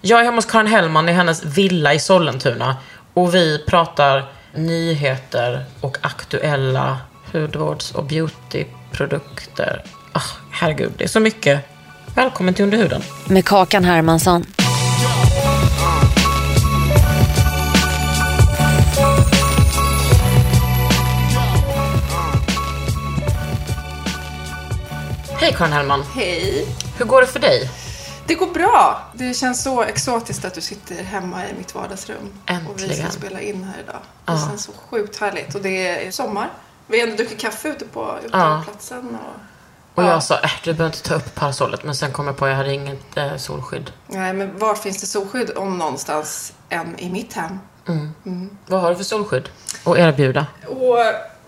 Jag är hemma hos Karin Hellman i hennes villa i Sollentuna och vi pratar nyheter och aktuella hudvårds och beautyprodukter. Ah, herregud, det är så mycket. Välkommen till Underhuden. Med Kakan Hermansson. Hej Karin Hellman. Hej. Hur går det för dig? Det går bra. Det känns så exotiskt att du sitter hemma i mitt vardagsrum. Och vi Äntligen. ska spela in här idag. Det känns så sjukt härligt. Och det är sommar. Vi har ändå druckit kaffe ute på utemoplatsen. Och... Och jag sa, äh, du behöver inte ta upp parasollet, men sen kom jag på att jag hade inget eh, solskydd. Nej, men var finns det solskydd om någonstans än i mitt hem? Vad har du för solskydd att erbjuda? Och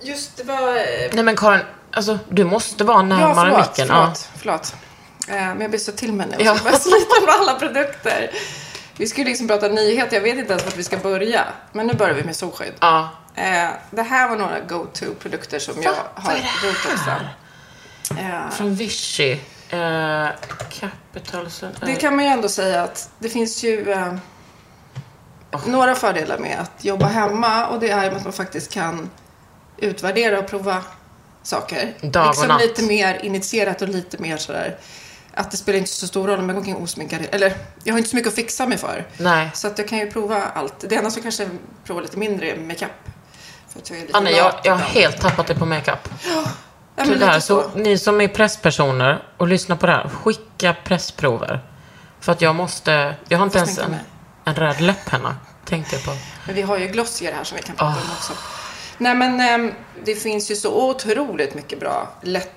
just det var... Nej men Karin, alltså du måste vara Ja, närmare förlåt. micken. förlåt, förlåt. Eh, Men jag blir så till mig nu. Ja. Jag ska börja slita med alla produkter. Vi skulle liksom prata nyheter. Jag vet inte ens vart vi ska börja. Men nu börjar vi med solskydd. Ja. Eh, det här var några go-to-produkter som jag har rotat fram. ja. Från Vichy. Eh, Capital... Sun- Det kan man ju ändå säga att det finns ju eh, Oh. några fördelar med att jobba hemma och det är ju att man faktiskt kan utvärdera och prova saker. Dag och liksom natt. lite mer initierat och lite mer sådär att det spelar inte så stor roll om jag går omkring osminkad. Eller, jag har inte så mycket att fixa mig för. Nej. Så att jag kan ju prova allt. Det enda som kanske jag provar lite mindre är makeup. För att jag är lite Ah, nej, jag, lat jag har ibland. helt tappat det på makeup. Ja, men Tyvärr, lite så ni som är presspersoner och lyssnar på det här, skicka pressprover. För att jag måste... Jag har inte ens sminka en, mig. en röd läpphenna, tänkte jag på. Men vi har ju glossier här som vi kan prata Ah. om också. Nej men ehm, det finns ju så otroligt mycket bra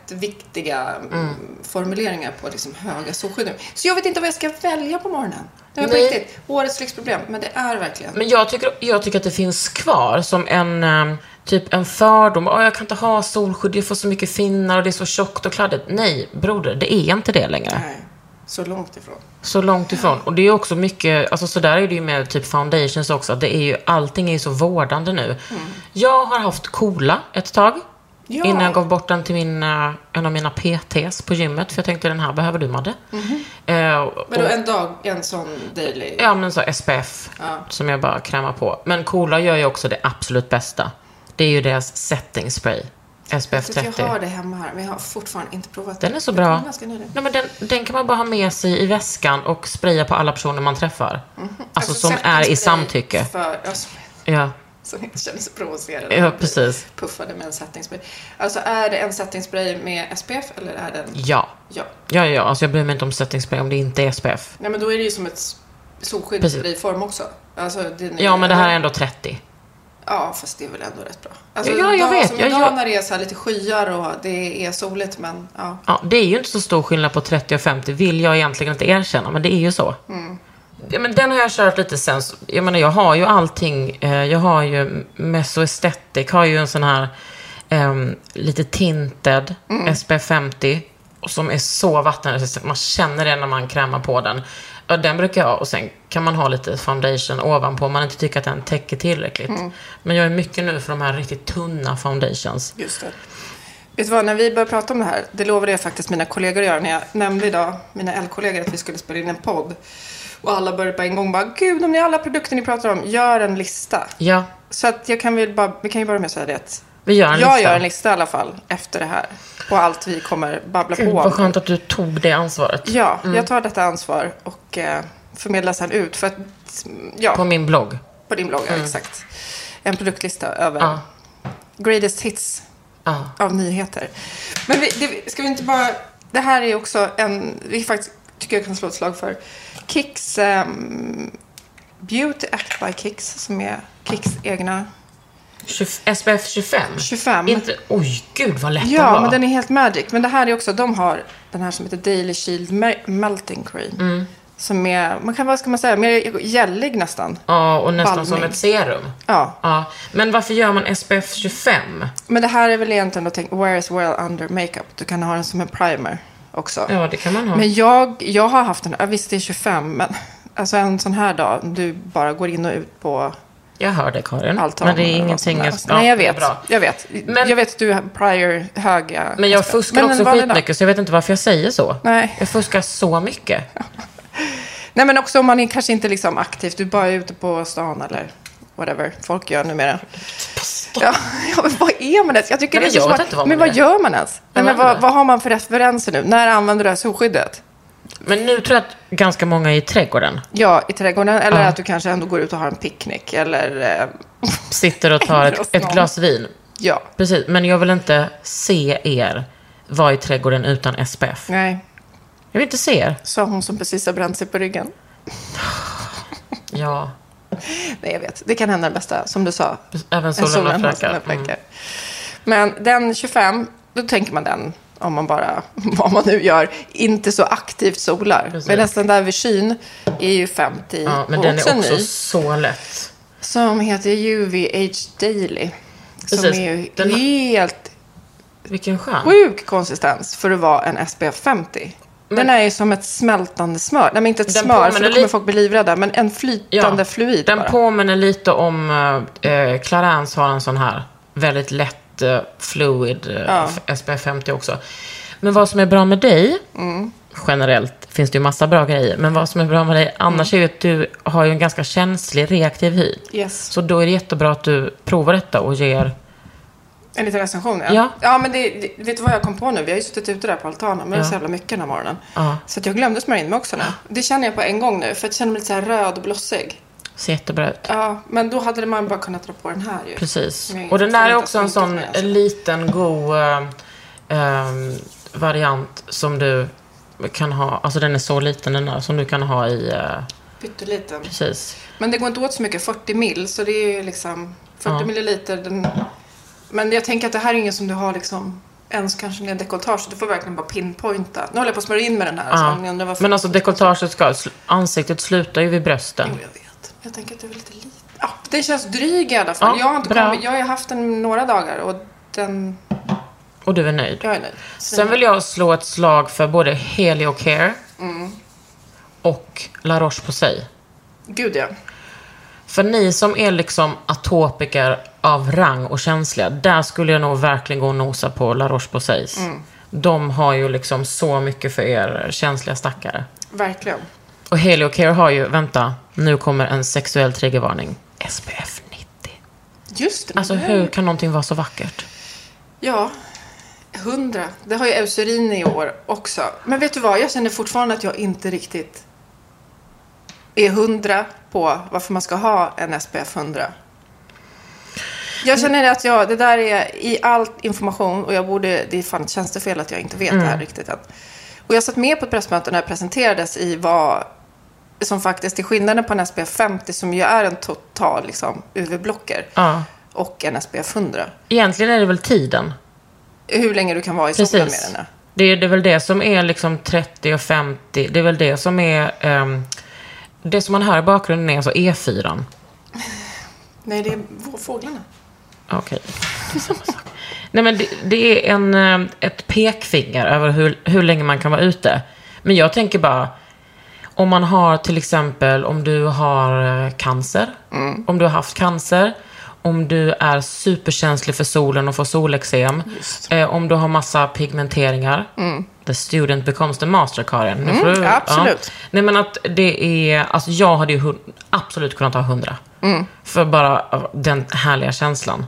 lättviktiga mm. formuleringar på liksom höga solskydd nu. Så jag vet inte vad jag ska välja på morgonen. Det var på Nej. riktigt årets lyxproblem, men det är verkligen. Men jag tycker, jag tycker att det finns kvar som en, eh, typ en fördom. Oh, jag kan inte ha solskydd, jag får så mycket finnar och det är så tjockt och kladdigt. Nej, broder, det är inte det längre. Nej, så långt ifrån. Så långt ifrån. Och det är också mycket, alltså sådär är det ju med typ foundations också. Det är ju, allting är ju så vårdande nu. Jag har haft kola ett tag. Ja. Innan jag gav bort den till min, eh, en av mina PTs på gymmet. För jag tänkte den här behöver du Madde. Eh, och- Men då en dag, en sån daily. Ja, men så SPF som jag bara krämar på. Men Cola gör ju också det absolut bästa. Det är ju deras setting spray. SPF Jag tror att 30. jag har det hemma här, men jag har fortfarande inte provat Den är så Jag bra. kom ganska nyligen. Nej, men den, den kan man bara ha med sig i väskan och spraya på alla personer man träffar. Alltså, som sätt en är Mhm. spray i samtycke. För, ja, som- Ja. som inte känner sig provocerade. Ja, precis. Puffade med en settingspray. Alltså är det en settingspray med SPF eller är den... Ja. Ja. Ja, ja, alltså jag bryr mig inte om setting spray om det inte är SPF. Nej men då är det ju som ett solskydd Precis. i form också. Alltså, den är- Ja, men det här är ändå 30. Ja, fast det är väl ändå rätt bra. Alltså, Ja, ja, en jag dag vet. Som Ja, idag jag- när det är så här lite skyar och det är soligt men ja. Ja, det är ju inte så stor skillnad på 30 och 50, vill jag egentligen inte erkänna, men det är ju så. Mm. Ja, men den har jag kört lite sen. så- Jag menar, jag har ju allting. Eh, jag har ju Mesoestetic, har ju en sån här ehm, lite tinted Mm. SPF 50 och som är så vattenresistent. Man känner det när man krämar på den. Ja, den brukar jag ha och sen kan man ha lite foundation ovanpå om man inte tycker att den täcker tillräckligt. Mm. Men jag är mycket nu för de här riktigt tunna foundations. Just det. Vet du vad, när vi började prata om det här, det lovade jag faktiskt mina kollegor att göra när jag nämnde idag, mina L-kollegor, att vi skulle spela in en podd. Och alla började på en gång bara, gud om ni har alla produkter ni pratar om, gör en lista. Ja, Så att jag kan väl bara, vi kan ju börja med att säga det att Vi gör en Jag lista. gör en lista i alla fall efter det här. På allt vi kommer babbla Gud, på vad om. skönt att Mm. du tog det ansvaret. Ja, jag tar detta ansvar och eh, förmedlar sen ut. För att, ja, På på, min blogg. din blogg, ja, exakt. En produktlista över Ja. greatest hits Ja. av nyheter. Men vi, det, ska vi inte bara... Det här är också en... Vi faktiskt tycker jag kan slå ett slag för. Kicks... ehm, Beauty Act by Kicks, som är Kicks egna... 20, SPF 25? 25. Inte, oj, gud vad lätt Ja, den var. men den är helt magic. Men det här är också... De har den här som heter Daily Shield Mer- Melting Cream. Mm. Som är... Man kan, vad ska man säga? Mer gällig nästan. Ja, och nästan som Balming. ett serum. Ja. ja. Men varför gör man SPF 25? Men det här är väl egentligen att tänka... Where is well under makeup? Du kan ha den som en primer också. Ja, det kan man ha. Men jag, jag har haft en, ja, visst det är 25, men alltså en sån här dag, du bara går in och ut på Jag hör dig Karin. allt Mm. men det är ingenting... jag- ja, Nej, jag det är vet. Jag vet. Men- jag vet att du har prior höga... Men jag fuskar Men också vanlig dag. skitmycket, så jag vet inte varför jag säger så. Nej. Jag fuskar så mycket. Nej, men också om man är, kanske inte liksom aktivt, du bara är ute på stan eller whatever folk gör numera. Ja, ja, men vad är man ens? Jag tycker Nej, det är men jag så vet svårt. inte vad Men man vad gör. gör man ens? Nej, men vad är vad, det? vad har man för referenser nu? När använder du det här solskyddet? Men nu tror jag att ganska många är i trädgården Ja, i trädgården. Eller Ja. att du kanske ändå går ut och har en picknick. Eller... eh, sitter och tar ett, ett glas vin. Ja. Precis, men jag vill inte se er vara i trädgården utan SPF. Nej, Jag vill inte se er. sa hon som precis har bränt sig på ryggen. Ja, Nej, jag vet. Det kan hända det bästa, som du sa. även En solen har har sina fläckar. Mm. fläckar. Men den 25, då tänker man den. Om man bara, vad man nu gör, inte så aktivt solar. Precis. Men nästan där vid skyn är ju 50 Ja, men och den också är en också ny. så lätt. Som heter UVH Daily. Som Precis. är ju Den- helt Vilken skön. sjuk konsistens för att vara en SPF 50. den är ju som ett smältande smör. Nej, men inte ett Den smör, för påminner då kommer lite- folk bli livrädda. Men en flytande fluid Den bara. påminner lite om... eh, Eh, Clarence har en sån här väldigt lätt eh, fluid eh, f- SPF 50 också. Men vad som är bra med dig, Mm. generellt finns det ju massa bra grejer, men vad som är bra med dig Mm. annars är ju att du har ju en ganska känslig reaktiv hy. Yes. Så då är det jättebra att du provar detta och ger... En liten recension, ja. Ja. men det, det, vet du vad jag kom på nu? Vi har ju suttit ute där på altanen, men det är så jävla mycket den här morgonen. Ja. Så att jag glömde smörja in mig också nu. Det känner jag på en gång nu, för jag känner mig lite så här röd och blossig. Ser jättebra ut. Ja, men då hade man bara kunnat dra på den här ju. Precis. Men jag Och den där får är inte också en sminka sån mig, alltså. liten god eh, eh, variant som du kan ha. Alltså den är så liten den där, som du kan ha i... eh, Pytteliten. precis. Men det går inte åt så mycket, 40 mil, så det är ju liksom 40 Ja. milliliter. Den, men jag tänker att det här är ingen som du har liksom ens kanske när dekolletage, så du får verkligen bara pinpointa. Nu håller jag på att smörja in med den här, Ja. så ni undrar varför. Men alltså dekolletaget ska... sl- Ansiktet slutar ju vid brösten. Jo, jag vet. Jag tänker att det är väl lite lite. Ja, det känns dryg i alla fall. Ja, jag, har inte bra. kommit, jag har ju haft den några dagar och den... Och du är nöjd. Jag är nöjd. Så Sen vill jag slå ett slag för både Helio Care Mm. och La Roche-Posay. Gud ja. För ni som är liksom atopiker av rang och känsliga, där skulle jag nog verkligen gå och nosa på La Roche-Posays. Mm. De har ju liksom så mycket för er känsliga stackare. Verkligen. Och Heliocare har ju, vänta, nu kommer en sexuell triggervarning. SPF 90. Just det. Alltså hur kan någonting vara så vackert? Ja. Hundra. Det har ju Eucerin i år också. Men vet du vad? Jag känner fortfarande att jag inte riktigt är hundra på varför man ska ha en SPF 100. Jag känner att jag, det där är i all information och jag borde, det är fan ett tjänstefel att jag inte vet det här riktigt än. Och jag satt med på ett pressmöte när det presenterades i vad som faktiskt är skillnaden på en SPF 50 som ju är en total liksom, UV-blocker Ja. och en SPF 100 Egentligen är det väl tiden? hur länge du kan vara i solen med Precis. den. ja. Det är, det är väl det som är liksom 30 och 50. Det är väl det som är... ehm, det som man hör i bakgrunden är alltså E4. an. Nej, det är vå- fåglarna. Okej. Samma sak. Nej, men det, det är en, eh, ett pekfinger över hur, hur länge man kan vara ute. Men jag tänker bara, om man har till exempel, om du har eh, cancer, om du har haft cancer, om du är superkänslig för solen och får solexem, eh, om du har massa pigmenteringar. The student becomes the master, Karin. Nu får du- absolut. Nej men att det är, alltså jag hade ju hun- absolut kunnat ha 100. För bara av den härliga känslan.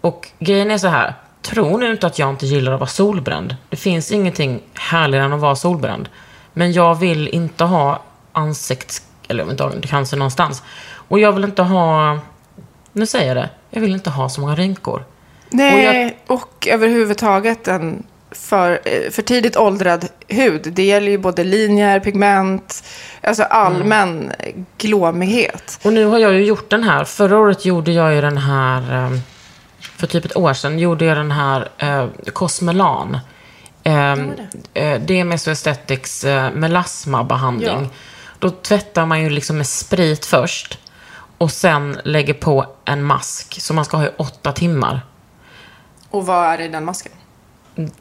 Och grejen är så här. Tror ni inte att jag inte gillar att vara solbränd? Det finns ingenting härligare än att vara solbränd. Men jag vill inte ha ansikts... Eller jag vill inte ha cancer någonstans. Och jag vill inte ha... Nu säger jag det. Jag vill inte ha så många rynkor. Nej, och, överhuvudtaget en för, eh, för tidigt åldrad hud. Det gäller ju både linjer, pigment, alltså allmän mm. glåmighet. Och nu har jag ju gjort den här. Förra året gjorde jag ju den här, eh, för typ ett år sedan, gjorde jag den här eh, Cosmelan. Eh, eh, det är Mesoaesthetics eh, melasmabehandling. Då tvättar man ju liksom med sprit först och sen lägger på en mask som man ska ha i åtta timmar. Och vad är det i den masken?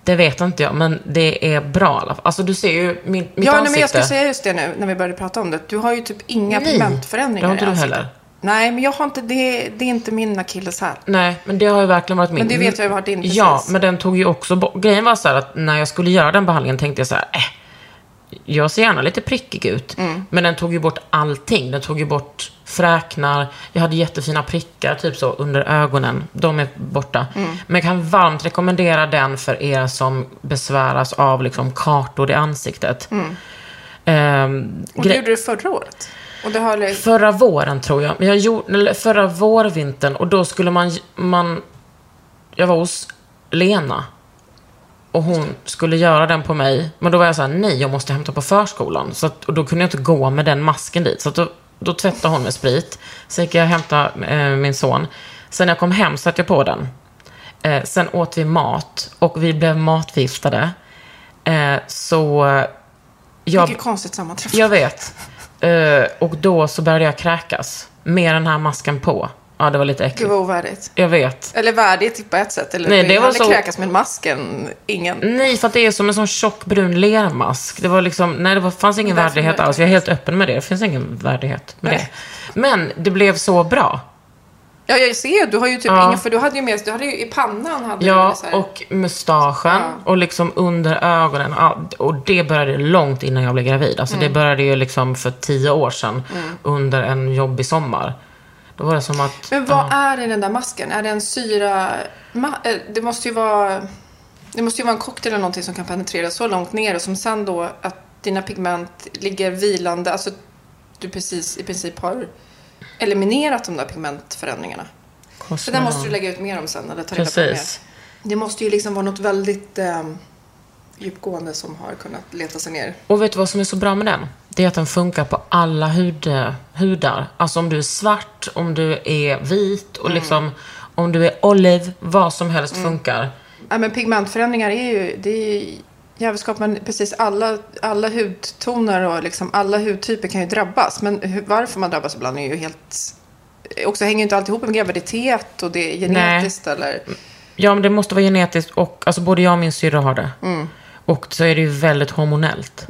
Det vet inte jag, men det är bra i alla fall. Alltså du ser ju min, mitt ja, ansikte. nej, men jag skulle säga just det nu när vi började prata om det. Du har ju typ inga Nej, pigmentförändringar det har inte i du ansiktet. heller. Nej, men jag har inte, det, det är inte min akilleshäl. Nej, men det har ju verkligen varit min. Men det vet jag ju var din, precis. Ja, men den tog ju också bort. Grejen var så här att när jag skulle göra den behandlingen tänkte jag så här, eh, jag ser gärna lite prickig ut. Mm. Men den tog ju bort allting. Den tog ju bort fräknar, jag hade jättefina prickar typ så under ögonen. De är borta. Mm. Men jag kan varmt rekommendera den för er som besväras av liksom kartor i ansiktet. Ehm, Mm. Och gre- du gjorde det förra året. Och det har liksom... Förra våren tror jag. Men jag gjorde, eller förra vårvintern och då skulle man, man... Jag var hos Lena. Och hon skulle göra den på mig. Men då var jag så här, nej jag måste hämta på förskolan. Så att, och då kunde jag inte gå med den masken dit. Så att då, då tvättade hon med sprit. Sen gick jag och hämtade eh, min son. Sen när jag kom hem satte jag på den. Eh, sen åt vi mat och vi blev matförgiftade. Eh, så... eh, Jag, Vilket konstigt sammanträffande. jag vet. Eh, och då så började jag kräkas. Med den här masken på. Ja, det var lite Gud äckligt. vad ovärdigt. Jag vet. Eller värdigt på ett sätt. Eller Nej, det var hellre så- kräkas med masken. Ingen. Nej, för att det är som en sån tjock brun lermask. Det var liksom, nej det var, fanns ingen Varför värdighet var det alls. Jag är helt öppen med det. Det finns ingen värdighet med Nej. det. Men det blev så bra. Ja, jag ser ju. Du har ju typ Ja. ingen... För du hade ju med... Du hade ju i pannan... Hade Ja, du så här- och mustaschen och liksom under ögonen. Ja, och det började långt innan jag blev gravid. Alltså Mm. det började ju liksom för tio år sedan. Under en jobbig sommar. Då var det som att... Men vad är det i den där masken? Är det en syra... ma- eh, Det måste ju vara... Det måste ju vara en cocktail eller någonting som kan penetrera så långt ner och som sen då att dina pigment ligger vilande. Alltså du precis i princip har eliminerat de där pigmentförändringarna. Så där måste du lägga ut mer om sen eller ta reda på mer. Precis. Det måste ju liksom vara något väldigt eh, djupgående som har kunnat leta sig ner. Och vet du vad som är så bra med den? Det är att den funkar på alla hud, eh, hudar. Alltså om du är svart, om du är vit Mm. och liksom om du är olive, vad som helst funkar. Ja, men pigmentförändringar är ju, det är ju jävelskap, men precis alla, alla hudtoner och liksom alla hudtyper kan ju drabbas. Men hur, varför man drabbas ibland är ju helt... Också hänger ju inte alltid ihop med graviditet och det är genetiskt eller... Ja, men det måste vara genetiskt och alltså både jag och min syrra har det. Mm. Och så är det ju väldigt hormonellt.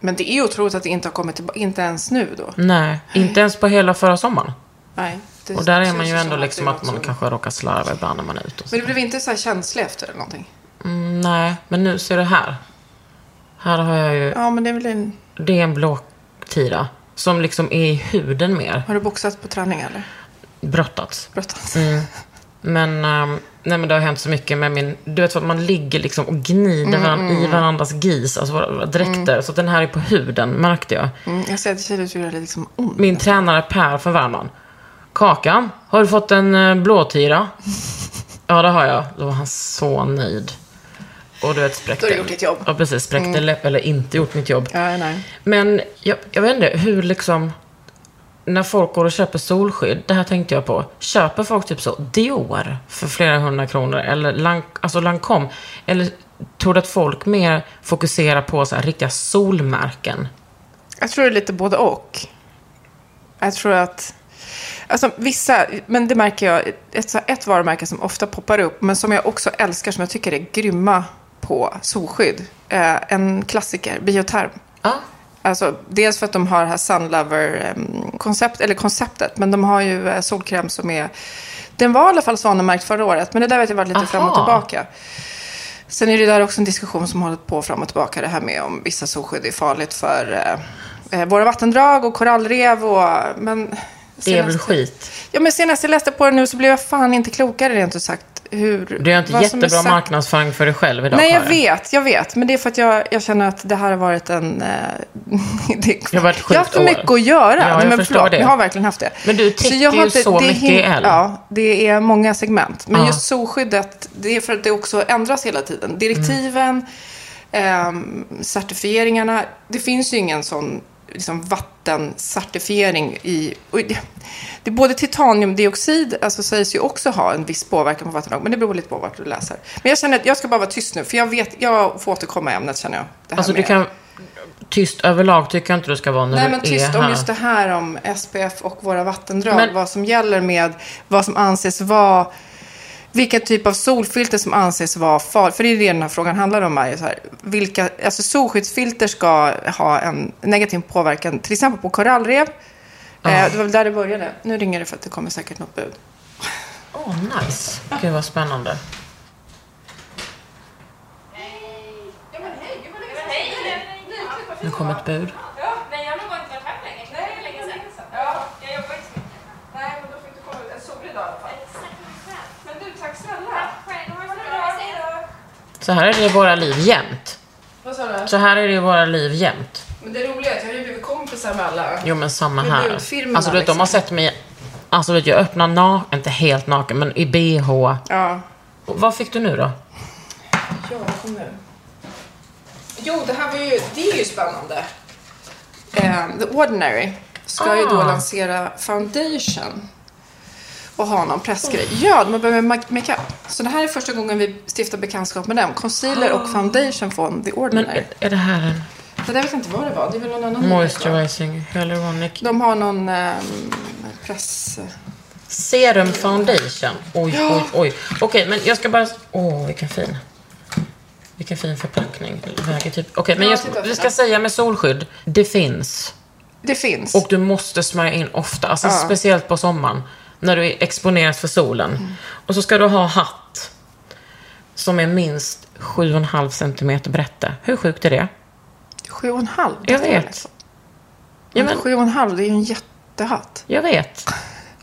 Men det är ju otroligt att det inte har kommit tillbaka, inte ens nu då. Nej, inte ens på hela förra sommaren. Nej. det Och där är känns man ju som ändå det liksom var att man också- kanske råkar slarva ibland när man är ute. Och så. Men du blev inte så här känslig efter eller någonting? Mm, nej, men nu ser du här. Här har jag ju, Ja, men det är väl en... det är en blåtira. Som liksom är i huden mer. Har du boxat på träning eller? Brottats. Brottats? Men, ehm, nej, men det har hänt så mycket med min... Du vet, att man ligger liksom och gnider Mm, varann, i varandras gis, alltså våra våra dräkter. Så att den här är på huden, märkte jag. Mm, jag ser att det kändes ju liksom ont. Min tränare Per från Värmland. Kakan, har du fått en eh, blåtira? ja, det har jag. Då var han så nöjd. Och du vet, spräckte... Då har du gjort ditt jobb. Mm. Ja, precis. Spräckte läpp, eller inte gjort mitt jobb. Ja, nej. Men jag, jag vet inte hur liksom... När folk går och köper solskydd, det här tänkte jag på. Köper folk typ så Dior för flera hundra kronor eller Lan, alltså Lancome? Eller tror du att folk mer fokuserar på så här riktiga solmärken? Jag tror det är lite både och. Jag tror att... Alltså vissa, men det märker jag, ett, så här- ett varumärke som ofta poppar upp, men som jag också älskar, som jag tycker är grymma på solskydd. Eh, en klassiker, Bioterm. Ja. Alltså, dels för att de har det här Sunlover-koncept, eller konceptet, men de har ju eh, solkräm som är... Den var i alla fall svanmärkt förra året, men det där vet jag varit lite Aha. fram och tillbaka. Sen är det där också en diskussion som hållit på fram och tillbaka, det här med om vissa solskydd är farligt för eh, eh, våra vattendrag och korallrev och... Men Det är väl senast- skit? Ja, men senast jag läste på det nu så blev jag fan inte klokare rent ut sagt. hur... Du gör inte vad som är jättebra sagt. marknadsföring för dig själv idag, Nej, jag Karin. vet, jag vet. Men det är för att jag, jag känner att det här har varit en... Eh, det, Det har varit jag har sjukt haft mycket år. att Ja, göra. jag men förstår det. Jag har verkligen haft det. Men du Så täcker jag har ju inte- så det är mycket hin- i L. Ja, det är många segment. Men Ja. just solskyddet, det är för att det också ändras hela tiden. Direktiven, ehm, certifieringarna. Det finns ju ingen sån liksom, vattencertifiering i... och det- Det är både titaniumdioxid, alltså sägs ju också ha en viss påverkan på vattendrag, men det beror lite på vart du läser. Men jag känner att jag ska bara vara tyst nu, för jag vet, jag får återkomma i ämnet känner jag. Det här Alltså du med- kan... Tyst överlag tycker jag inte du ska vara när Nej, du men är tyst här. om just det här om SPF och våra vattendrag. Men- Vad som gäller med vad som anses vara... Vilken typ av solfilter som anses vara farligt. För det är ju det den här frågan handlar om. Är ju så här, vilka, alltså solskyddsfilter ska ha en negativ påverkan, till exempel på korallrev. Ah. Eh, det var väl där det började. Nu ringer det för att det kommer säkert något bud. Åh, nice. Gud vad spännande. Nu kom ett bud. Nej, jag har nog inte varit här länge. Nej, det är länge sedan. Ja, jag jobbar inte så mycket. Nej, men då får du komma ut. En solig dag i alla fall. Men du, tack snälla. Tack själv. Ha det bra. Hej då. Så här är det i våra liv jämt. Vad sa du? Så här är det i våra liv jämt. Men det roliga är att jag har ju blivit kompisar med alla. Jo men samma Med här. ljudfilmerna, Alltså du vet, de har liksom. sett mig... Alltså du vet, jag öppnar na... Inte helt naken, men i bh. Ja. Och Vad fick du nu då? Ja, vad kom nu? Jo, det här var ju, det är ju spännande. Eh, The Ordinary ska ju då Ah. lansera foundation och ha någon pressgrej. Ja, de har börjat med ma- makeup. Så det här är första gången vi stiftar bekantskap med dem. Concealer och foundation från The Ah. Men eh, Ordinary. är, är det här en det där vet jag inte vad det var. Det är väl någon annan nyhet, va? moisturizing hyaluronic De har någon ehm, press... serum foundation? Oj, oj, oj. Okej, men jag ska bara... Åh, vilken fin. Vilken fin förpackning. Väger typ... Okej, men Ja, jag, titta. vi ska säga med solskydd. Det finns. Det finns. Och du måste smörja in ofta, alltså speciellt på sommaren. När du exponeras för solen. Mm. Och så ska du ha hatt som är minst 7,5 centimeter brätte. Hur sjukt är det? Sju och en halv. Jag vet. Ja, men, Sju och en halv, det är ju en jättehatt. jag vet.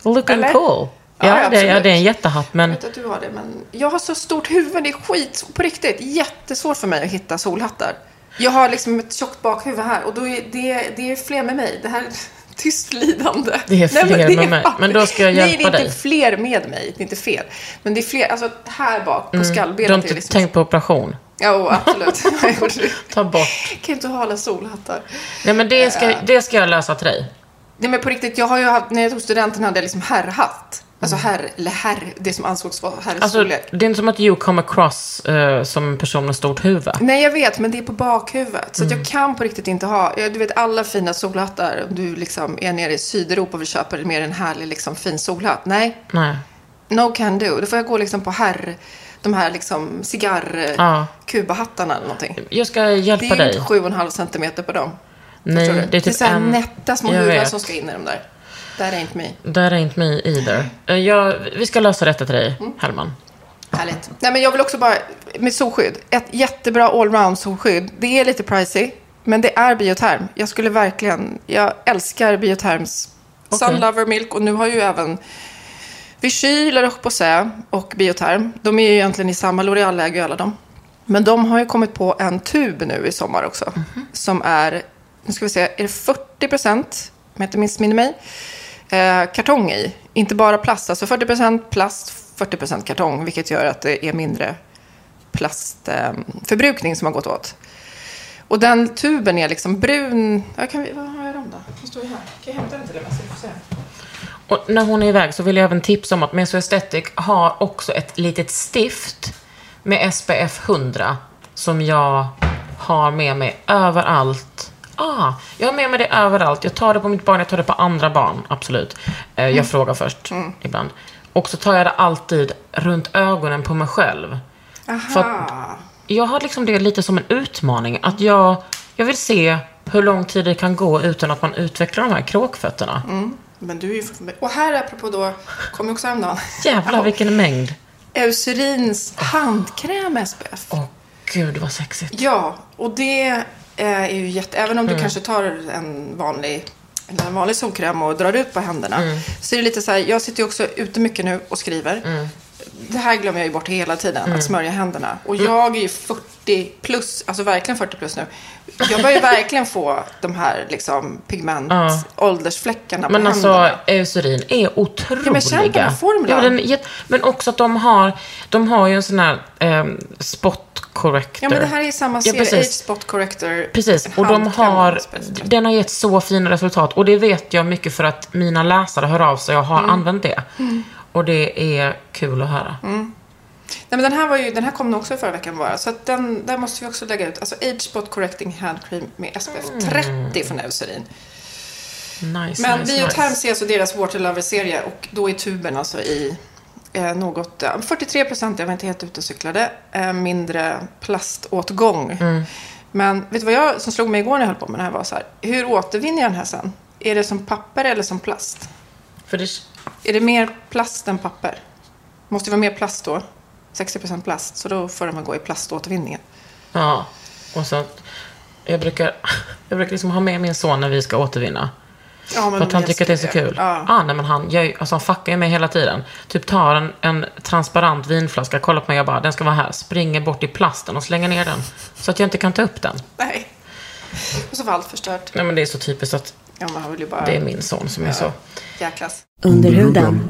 Looking Eller? cool. Ja, Ja, det, ja, absolut. det är en jättehatt, Jag men vet att du har det, men jag har så stort huvud. Det är skit, på riktigt, jättesvårt för mig att hitta solhattar. Jag har liksom ett tjockt bakhuvud här och då är det, det är fler med mig. Det här är ett tyst lidande. Det är fler men det med mig. fan- Men då ska jag Nej, det hjälpa är dig. inte fler med mig. Det är inte fel. Men det är fler, alltså här bak på Mm. du har skallbenet. är inte det liksom, tänkt på operation? Ja, oh, absolut. jag gjorde det. Ta bort. Jag kan inte ha alla solhattar. Nej, men det ska, det ska jag lösa till dig. Nej men på riktigt, jag har ju haft, när jag tog studenten hade jag liksom herrhatt. Alltså herr, eller herr, det som ansågs vara herrens Mm. Alltså, storlek. det är inte som att you come across eh, som en person med stort huvud. Nej, jag vet, men det är på bakhuvudet. Så att Mm. jag kan på riktigt inte ha... jag- Du vet, alla fina solhattar, om du liksom är nere i Sydeuropa och köper mer en härlig liksom, fin solhatt. Nej, Nej. no can do. Då får jag gå liksom på herr... De här liksom Ja. cigarr-kubahattarna eller någonting. Jag ska Det hjälpa är ju dig. inte 7,5 centimeter på dem. Nej, Förstår du? det är det är typ så här en- nätta små jag huvuden vet. som ska in i de där. That ain't me. That ain't me either. Eh, Jag, vi ska lösa detta till dig, Mm. Herman. Härligt. Nej, men jag vill också bara, med solskydd, ett jättebra allround solskydd. Det är lite pricey, men det är bioterm. Jag skulle verkligen, jag älskar bioterms. Okej. Sun Lover Milk och nu har ju även Vichy, La Roche-Posay och bioterm. De är ju egentligen i samma, L'Oreal äger ju alla dem. Men de har ju kommit på en tub nu i sommar också. Som är, nu ska vi se, är det 40 procent, om jag inte missminner mig, eh, kartong i. Inte bara plast, alltså 40 procent plast, 40 procent kartong. Vilket gör att det är mindre plastförbrukning eh, förbrukning som har gått åt. Och den tuben är liksom brun. Ja, kan vi, vad har jag dem då? De står ju här. Kan jag hämta den till dig? så vi får se? Och när hon är iväg så vill jag även tipsa om att Meso Aesthetic har också ett litet stift med SPF 100 som jag har med mig överallt. Ah, jag har med mig det överallt. Jag tar det på mitt barn, jag tar det på andra barn, absolut. Eh, jag frågar först ibland. Och så tar jag det alltid runt ögonen på mig själv. För att jag har liksom det lite som en utmaning. Att jag, jag vill se hur lång tid det kan gå utan att man utvecklar de här kråkfötterna. Men du är ju fortfarande... Och här apropå då, kom ju också häromdagen. Jävlar vilken mängd. Eucerins handkräm SPF. Åh gud vad sexigt. Ja, och det eh, är ju jätte... Även Mm. om du kanske tar en vanlig, eller en Mm. Mm. vanlig solkräm och drar ut på händerna. Så är det lite så här, jag sitter ju också ute mycket nu och skriver. det här glömmer jag ju bort hela tiden, att smörja händerna. Och Mm. jag är ju 40 plus, alltså verkligen 40 plus nu. Jag börjar ju verkligen få de här liksom pigment, Ja. åldersfläckarna på Men alltså, händerna. eucerin är otroliga. Ja, men känn på den här formen. Ja, den är jätte- men också att de har, de har ju en sån här ehm, spot corrector. Ja, men det här är samma Ja, serie, Age precis. Spot Corrector. Precis, En och de handkräm har, specifikt. den har gett så fina resultat. Och det vet jag mycket för att mina läsare hör av sig och Mm. har använt det. Och det är kul att höra. Mm. Nej, men den, här var ju, den här kom nog också förra veckan bara, så att den där måste vi också lägga ut. Alltså Age Spot Correcting Hand Cream med SPF Mm. 30 från Eucerin. Nice, Men nice, Bioterm nice. ser alltså deras Waterlover-serie och då är tuben alltså i eh, något, eh, 43 procent, jag var inte helt ute och cyklade, eh, mindre plaståtgång. Mm. Men vet du vad jag, som slog mig igår när jag höll på med den här var så här, hur återvinner jag den här sen? Är det som papper eller som plast? För det, Är det mer plast än papper? Måste det vara mer plast då? 60% plast, så då får den väl gå i plaståtervinningen. ja, och så, jag brukar, jag brukar liksom ha med min son när vi ska återvinna. Ja, men För att han jag tycker att det är så skulle- kul. Ja. Ah, nej, men han, gör ju- alltså, han fuckar ju mig hela tiden. Typ tar en, en transparent vinflaska, kollar på mig och bara, den ska vara här. Springer bort i plasten och slänger ner den. Så att jag inte kan ta upp den. Nej. Och så var allt förstört. Nej, men det är så typiskt att Ja, man vill ju bara det är min son som är så. jäklas. Under huden.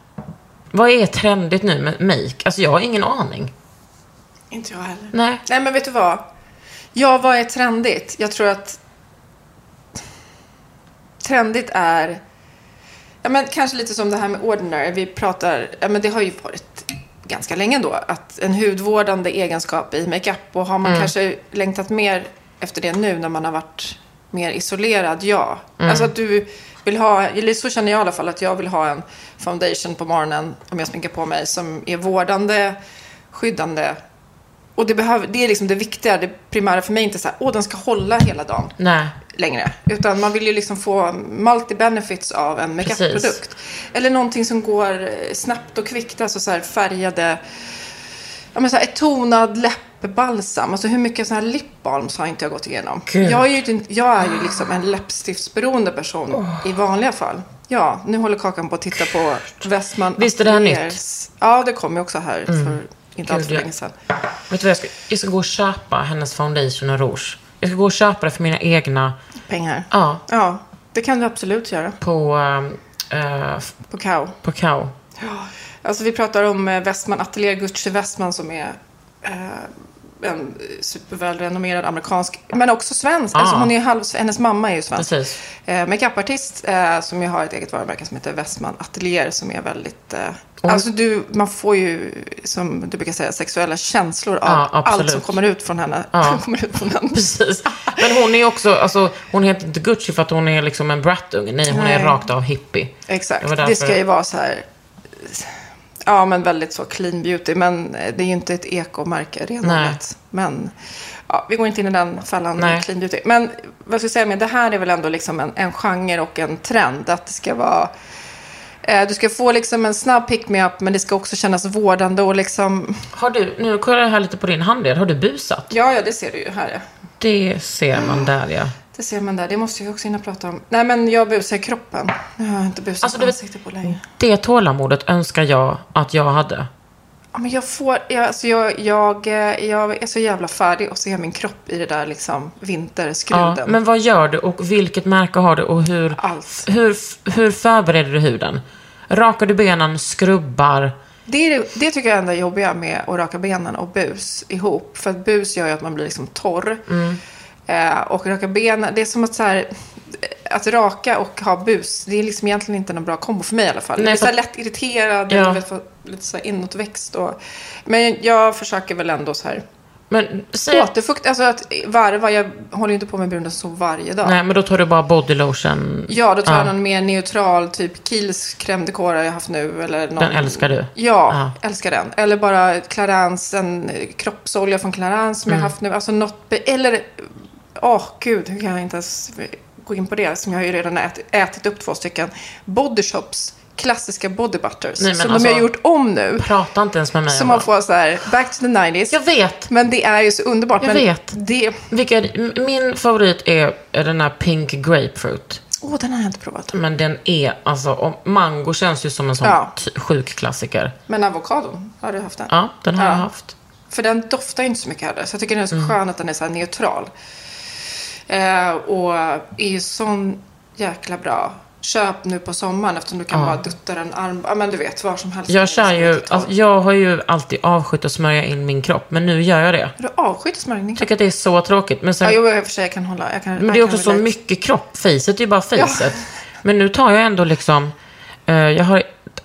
Vad är trendigt nu med make? Alltså jag har ingen aning. Inte jag heller. Nej. Nej, men vet du vad? Ja, vad är trendigt? Jag tror att trendigt är ja, men kanske lite som det här med ordinary. Vi pratar, ja, men det har ju varit ganska länge då, att en hudvårdande egenskap i makeup. Och har man kanske längtat mer efter det nu när man har varit mer isolerad, ja. Alltså att du vill ha, eller så känner jag i alla fall, att jag vill ha en foundation på morgonen om jag sminkar på mig som är vårdande, skyddande och det, behöver, det är liksom det viktiga, det primära för mig är inte så här, åh den ska hålla hela dagen Nej. längre. Utan man vill ju liksom få multi-benefits av en Precis. makeup-produkt. Eller någonting som går eh, snabbt och kvickt, alltså så här färgade, ja men så här ett tonad läppbalsam. Alltså hur mycket så här lip balms har inte jag gått igenom. Gud. Jag är, ju, inte- jag är ju liksom en läppstiftsberoende person i vanliga fall. Ja, nu håller Kakan på att titta på Westman Visst är det här nytt? Mm. Ateliers. Ja, det kom ju också här för inte alls Gud, ja. länge sedan. Vet du vad jag ska, jag ska gå och köpa hennes foundation och rouge. Jag ska gå och köpa det för mina egna pengar. Ja. Ja, det kan du absolut göra på, ehm, eh, på Kao. på Kao. Ja. Alltså vi pratar om eh, Westman Atelier Gucci Westman som är eh, en supervälrenommerad amerikansk, men också svensk. Alltså Ah. hon är halv, hennes mamma är ju svensk. Precis. Eh, Makeupartist eh, som ju har ett eget varumärke som heter Westman Atelier som är väldigt... Eh, Oj. Alltså du, man får ju, som du brukar säga, sexuella känslor av Ja, absolut. allt som kommer ut från henne. Ja. Som kommer ut från henne. Precis. Men hon är också, alltså, hon heter inte Gucci för att hon är liksom en brattunge. Nej, hon är Nej. rakt av hippie. Exakt. Det var Det, därför- ska ju vara så här... Ja, men väldigt så clean beauty. Men eh, det är ju inte ett ekomärke Nej. renodlat. Men ja, vi går inte in i den fällan med Nej. clean beauty. Men vad ska jag säga med det här är väl ändå liksom en, en genre och en trend. Att det ska vara... eh, Du ska få liksom en snabb pick-me-up, men det ska också kännas vårdande och liksom... Har du, nu kollar jag här lite på din handdel, har du busat? Ja, ja, det ser du ju här. ja. Det ser man där ja. Det Det ser man där. Det måste jag också hinna prata om. Nej, men jag busar i kroppen. Nu har jag inte busat Alltså, alltså, du vet- ansikte på länge. Det tålamodet önskar jag att jag hade. Ja, men jag får... Jag, alltså, jag, jag, eh, jag är så jävla färdig och så är min kropp i det där liksom vinterskruden. Ja, men vad gör du och vilket märke har du och hur, Allt. hur, hur förbereder du huden? Rakar du benen, skrubbar? Det, är, det- det tycker jag är det enda jobbiga med att raka benen och bus ihop. För att bus gör ju att man blir liksom torr. Mm. Eh, och raka benen, det är som att så här, eh, att raka och ha bus, det är liksom egentligen inte någon bra kombo för mig i alla fall. Nej, jag blir så här för- lätt irriterad, Ja. jag blir för- lite så här inåtväxt. Och, men jag försöker väl ändå så här Men, säg, återfukt, alltså att varva, jag håller ju inte på med brun så varje dag. nej, men då tar du bara bodylotion. Ja, då tar jag Ja. någon mer neutral, typ Kiehl's crème de corps har jag haft nu. Eller någon... Den älskar du? Ja, älskar den. Eller bara Clarins, en eh, kroppsolja från Clarins som jag Mm. haft nu. Alltså något, be- eller, åh gud, hur kan jag inte ens gå in på det? Som jag har ju redan ätit, ätit upp två stycken. Body Shops, klassiska body butters. Nej, men som alltså- de har gjort om nu. Prata inte ens med mig Som om man det. får så här, back to the 90s. Jag vet. Men det är ju så underbart. Jag men vet. Det, Vilka, är- m- min favorit är är den här pink grapefruit. åh, den har jag inte provat. Men den är, alltså, om, mango känns ju som en sån Ja. t- sjuk klassiker. Men avokadon, har du haft den? Ja, den har Ja. jag haft. För den doftar ju inte så mycket heller. Så jag tycker den är Mm. så skön att den är så här neutral. Eh, och är ju sån jäkla bra. Köp nu på sommaren eftersom du kan bara dutta den arm... Ja, men du vet, var som helst. Jag kör ju, Har alltså, jag har ju alltid avskytt att smörja in min kropp, men nu gör jag det. Du avskyr smörjning. tycker att det är så tråkigt. Men, sen, Ja, jo, i och för sig, jag kan hålla... Jag kan, men det är jag också kan så relate. mycket kropp. Facet är ju bara facet. Men nu tar jag ändå liksom... eh, jag har,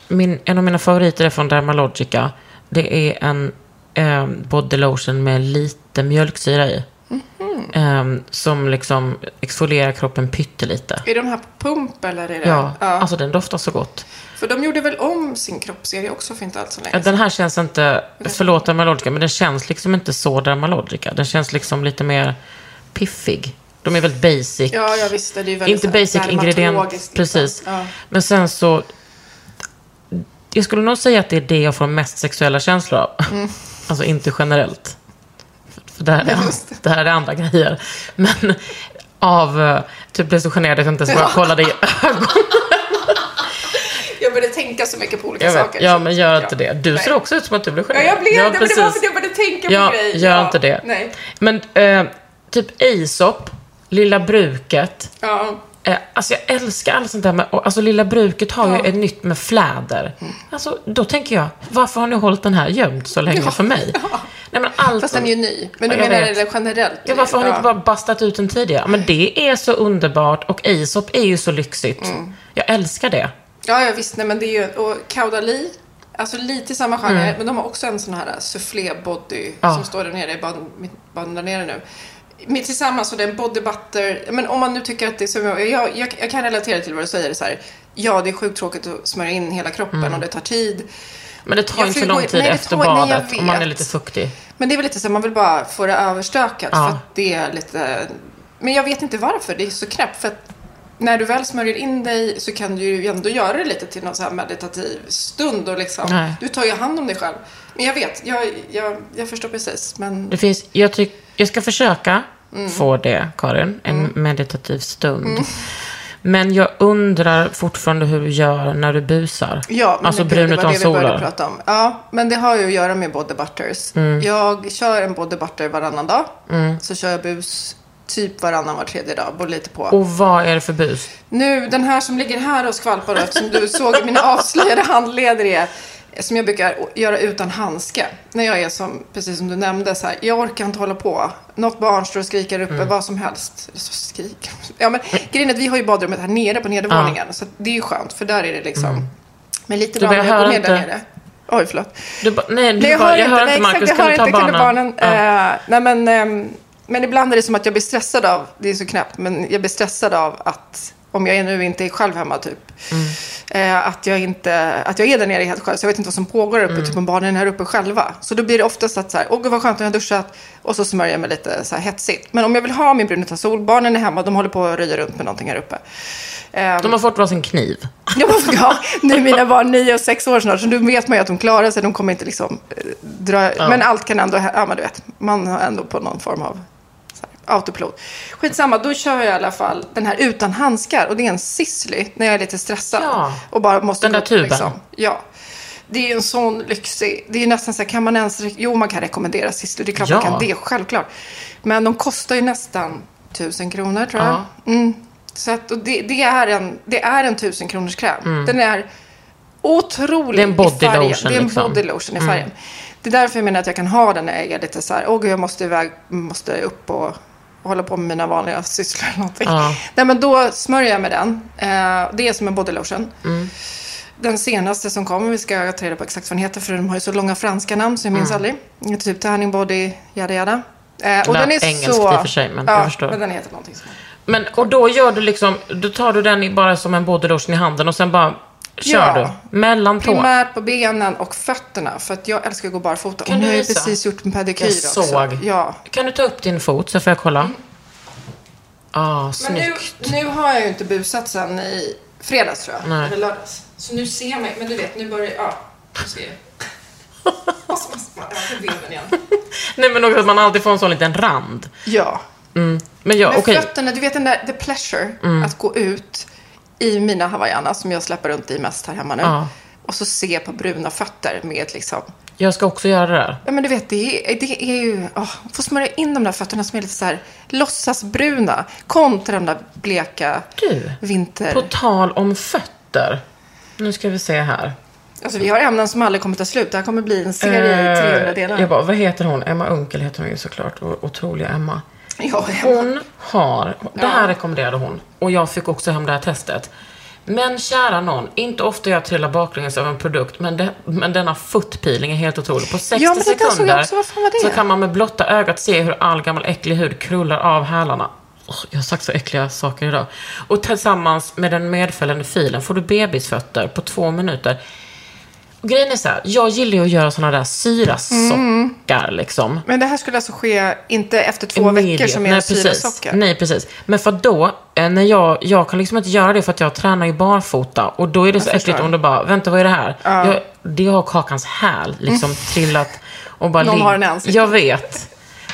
min, en av mina favoriter är från Dermalogica. Det är en eh, body lotion med lite mjölksyra i. Eh, som liksom exfolierar kroppen pyttelite. Är de här på pump eller är det... Ja, alltså den doftar så gott. För de gjorde väl om sin kroppsserie också för inte allt så länge Den här känns inte, förlåt Dermalogica, men den känns liksom inte så Dermalogica. Den känns liksom lite mer piffig. De är väldigt basic. Ja, ja, visst, det är ju väldigt Inte så här basic ingrediens, dermatologiskt, liksom. precis. Ja. Men sen så, jag skulle nog säga att det är det jag får mest sexuella känslor av. Mm. Alltså inte generellt. För- För det här, är, det här är andra grejer. Men av, eh, typ blev så generad att jag inte ens vågade kolla det i ögonen. Jag började tänka så mycket på olika Jag vet. saker. Ja, så- men gör inte det. Du Nej. ser också ut som att du blir Ja, generad. jag blev det, men det var för precis. att jag började tänka på Ja, grejer. gör Ja, inte det. Nej. Men eh, typ Aesop, Lilla Bruket. Ja. Eh, alltså jag älskar allt sånt där med, och, alltså Lilla Bruket har ju ett nytt med fläder. Mm. Alltså då tänker jag, varför har ni hållit den här gömd så länge för mig? Nej men allt... Fast den är ju ny. Men du Ja, jag menar vet. det generellt? Ja, varför har ni inte bara bastat ut den tidigare? Men det är så underbart och Aesop är ju så lyxigt. Mm. Jag älskar det. Ja, ja visst. Nej, men det är ju... Och Caudalie. Alltså lite samma genre, Mm. men de har också en sån här soufflé-body som står där nere. Jag band, mitt band där nere nu. Men tillsammans och den body butter. Men om man nu tycker att det är som jag, jag, jag, jag kan relatera till vad du säger. Så här, ja, det är sjukt tråkigt att smörja in hela kroppen Mm. och det tar tid. Men det tar Jag ju inte så får ju lång gå i- tid nej, det efter tar- nej, jag badet om man är vet. lite fuktig. Men det är väl lite så här, man vill bara få det överstökat Ja. för att det är lite... Men jag vet inte varför det är så knäppt för att när du väl smörjer in dig så kan du ju ändå göra det lite till någon så här meditativ stund och liksom, Nej. du tar ju hand om dig själv. Men jag vet, jag, jag, jag förstår precis. Men Det finns, jag, tyck, jag ska försöka Mm. få det, Karin. En meditativ stund. Men jag undrar fortfarande hur du gör när du busar. Ja, men alltså det- det brun var utan det vi började solar. prata om. Ja, men det har ju att göra med body butters. Jag kör en body butter varannan dag. Så kör jag bus typ varannan var tredje dag, beror lite på. Och vad är det för bus? Nu, den här som ligger här och skvalpar då, eftersom du såg mina avslöjade handleder är som jag brukar göra utan handske. När jag är som, precis som du nämnde, så här, jag orkar inte hålla på. Något barn står och skriker uppe, vad som helst. Så skrik. Ja, men grejen är att vi har ju badrummet här nere på nedervåningen, så att det är ju skönt, för där är det liksom. Men lite Du, bra men jag när jag går hör ner där inte. nere. Oj, förlåt. Du, ba- nej, du Nej, jag bara, hör jag inte, hör nej, inte Marcus, exakt, jag kan hör du inte, ta kunde barnen? barnen. Ja. Eh, nej, men, ehm, men ibland är det som att jag blir stressad av, det är så knäppt, men jag blir stressad av att om jag är nu inte är själv hemma typ. Mm. Eh, att, jag inte, att jag är där nere helt själv, så jag vet inte vad som pågår där uppe, Mm. typ om barnen är här uppe själva. Så då blir det oftast att så här, åh gud vad skönt, jag har duschat och så smörjer jag mig lite så här hetsigt. Men om jag vill ha min brun utan sol, barnen är hemma, de håller på att röja runt med någonting här uppe. Ehm, De har fått varsin kniv. Ja, men ja, nu är mina barn nio och sex år snart, så nu vet man ju att de klarar sig. De kommer inte liksom eh, dra... Men allt kan ändå hä- Ja, men du vet. Man har ändå på någon form av... Så här, autopilot. Skitsamma, då kör jag i alla fall den här utan handskar. Och det är en Sisley när jag är lite stressad. Ja, och bara måste den där gå upp, tuben. Ja. Det är ju en sån lyxig... Det är ju nästan så här, kan man ens... re- Jo, man kan rekommendera Sisley. Det är klart Ja. man kan det, självklart. Men de kostar ju nästan tusen kronor, tror jag. Mm. Så att, och det, det, är en, det är en tusen kronors kräm. Den är otrolig Mm. Det är en body i färgen. lotion, Det är en liksom. body lotion i färgen. Det är därför jag menar att jag kan ha den när jag är lite så här, åh gud, jag måste iväg, måste upp och och hålla på med mina vanliga sysslor eller någonting. Ja. Nej, men då smörjer jag med den. Eh, det är som en body lotion. Den senaste som kom, vi ska ta reda på exakt vad den heter för de har ju så långa franska namn så jag Mm. minns aldrig. Typ Tanning Body, yada yada. Eh, och Lät den är engelskt så... i och för sig, men ja, jag förstår. men den heter någonting som... Men, och då gör du liksom, då tar du den i- bara som en body lotion i handen och sen bara kör Ja. du. Mellan tå. Primärt på benen och fötterna, för att jag älskar att gå barfota. Kan och du nu har jag visa? precis gjort en pedikyr Jag också. såg. Ja. Mm. Kan du ta upp din fot så får jag kolla? Ah, Men nu, snyggt. nu har jag ju inte busat sen i fredags tror jag. Nej. Eller lördags. Så nu ser man Men du vet, nu börjar... Ja, du ser. Och så måste man öka bilden igen. Nej men också att man alltid får en sån liten rand. Mm. Ja. Men ja, Men okej. Mm. fötterna, du vet den där the pleasure, att gå ut i mina hawaiianas som jag släpper runt i mest här hemma nu. Ja. Och så se på bruna fötter med liksom... Jag ska också göra det där. Ja men du vet, det är, det är ju... Oh, få smörja in de där fötterna som är lite så här låtsasbruna kontra de där bleka Du, vinter... På tal om fötter. Nu ska vi se här. Alltså vi har ämnen som aldrig kommer ta slut. Det här kommer bli en serie i Eh, 300 delar. Jag bara, vad heter hon? Emma Unkel heter hon ju såklart. O- Otroliga Emma. ja, Emma. Hon har, det här rekommenderade hon och jag fick också hem det här testet. Men kära någon, inte ofta jag trillar baklänges av en produkt, men, det, men denna footpeeling är helt otrolig. På 60 Ja, men det där såg jag sekunder också. Vad fan var det? så kan man med blotta ögat se hur all gammal äcklig hud krullar av hälarna. Åh, jag har sagt så äckliga saker idag. Och tillsammans med den medföljande filen får du bebisfötter på två minuter. Och grejen är så här, jag gillar ju att göra såna där syrasockar Mm. liksom. Men det här skulle alltså ske inte efter två Immediate. veckor som är Nej, en precis. syrasocker? Nej, precis. Men för då, eh, när jag, jag kan liksom inte göra det för att jag tränar ju barfota och då är det så äckligt förstår. om du bara, vänta vad är det här? Jag, det har Kakans häl liksom trillat och bara Mm. Någon ligg- har den i ansiktet. Jag vet.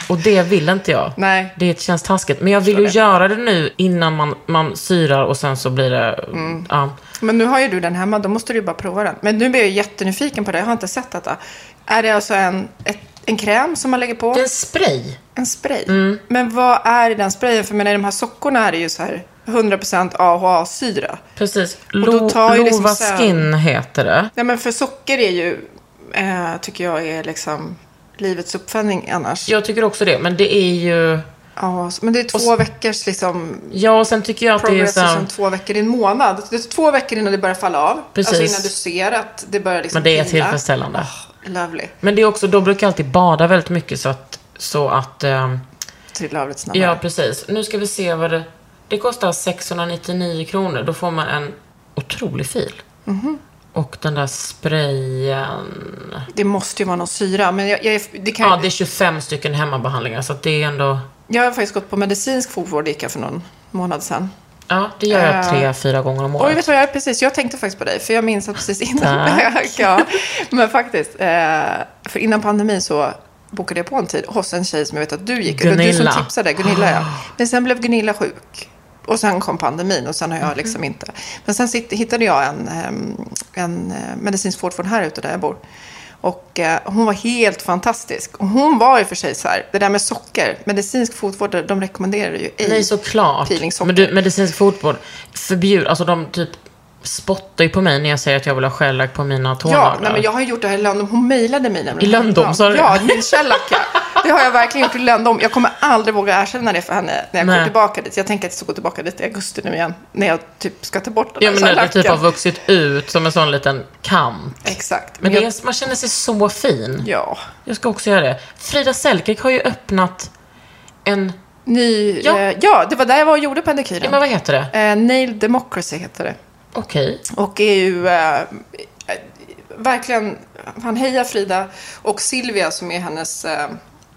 Och det vill inte jag. Nej. Det känns taskigt. Men jag vill ju göra det nu innan man, man syrar och sen så blir det... Mm. Ja. Men nu har ju du den hemma, då måste du ju bara prova den. Men nu blir jag jättenyfiken på det, jag har inte sett detta. Är det alltså en, ett, en kräm som man lägger på? Det är en spray. En spray? Mm. Men vad är den sprayen? För jag menar, i de här sockorna är det ju så här 100% AHA-syra. Precis. då Lo, tar ju liksom Lova sen- Skin heter det. Nej men för socker är ju, eh, tycker jag är liksom livets uppföljning annars. Jag tycker också det, men det är ju... Ja, men det är två veckors liksom Ja, och sen tycker jag att det är progress så... och här- sen två veckor i en månad. Det är två veckor innan det börjar falla av. Precis. Alltså innan du ser att det börjar liksom Men det är pila. tillfredsställande. Lovely. Men det är också, de brukar alltid bada väldigt mycket så att... Så att ehm, Trillar av lite snabbare. ja, precis. Nu ska vi se vad det... Det kostar 699 kronor. Då får man en otrolig fil. Mhm. Och den där sprayen... Det måste ju vara någon syra. Men jag, jag, är- det kan, Ja, det är 25 stycken hemmabehandlingar så att det är ändå... jag har faktiskt gått på medicinsk fotvård gick jag för någon månad sedan. Ja, det gör jag tre, fyra gånger om Eh, Oj, året. vet du vad jag precis, jag tänkte faktiskt på dig, för jag minns att precis innan, Tack. ja, men faktiskt, eh, för innan pandemin så bokade jag på en tid hos en tjej som jag vet att du gick, det var du som Gunilla. Ah. tipsade, Gunilla ja. Men sen blev Gunilla sjuk. Och sen kom pandemin och sen har Mm-hmm. jag liksom inte. Men sen sitt, hittade jag en, ehm, en eh, medicinsk vårdform här ute där jag bor. Och eh, hon var helt fantastisk. Och hon var i och för sig så här, det där med socker, medicinsk fotvård, de rekommenderar ju ej Nej, såklart. peelingsocker. Men du, medicinsk fotvård förbjud... Alltså de typ spottar ju på mig när jag säger att jag vill ha shellack på mina Ja, tånaglar. nej, men jag har ju gjort det här i Löndom. Hon mejlade mig nämligen. I Löndom, Ja, sa du? Ja, min källacka. Det har jag verkligen gjort i Löndom. Jag kommer aldrig våga erkänna det för henne när jag går Nej. tillbaka dit. Jag tänker att jag ska gå tillbaka dit i augusti nu igen. När jag typ ska ta bort den Ja, här men när det typ kärlackan. har vuxit ut som en sån liten kant. Exakt. Men Men det jag, är, man känner sig så fin. ja. Jag ska också göra det. Frida Selkirk har ju öppnat en... Ny, Ja. ja. Eh, ja, det var där jag var och gjorde Ja, pedikyren. men vad heter det? Eh, Nail Democracy heter det. Okej. Och är ju eh, eh, verkligen, han hejar Frida och Silvia som är hennes eh,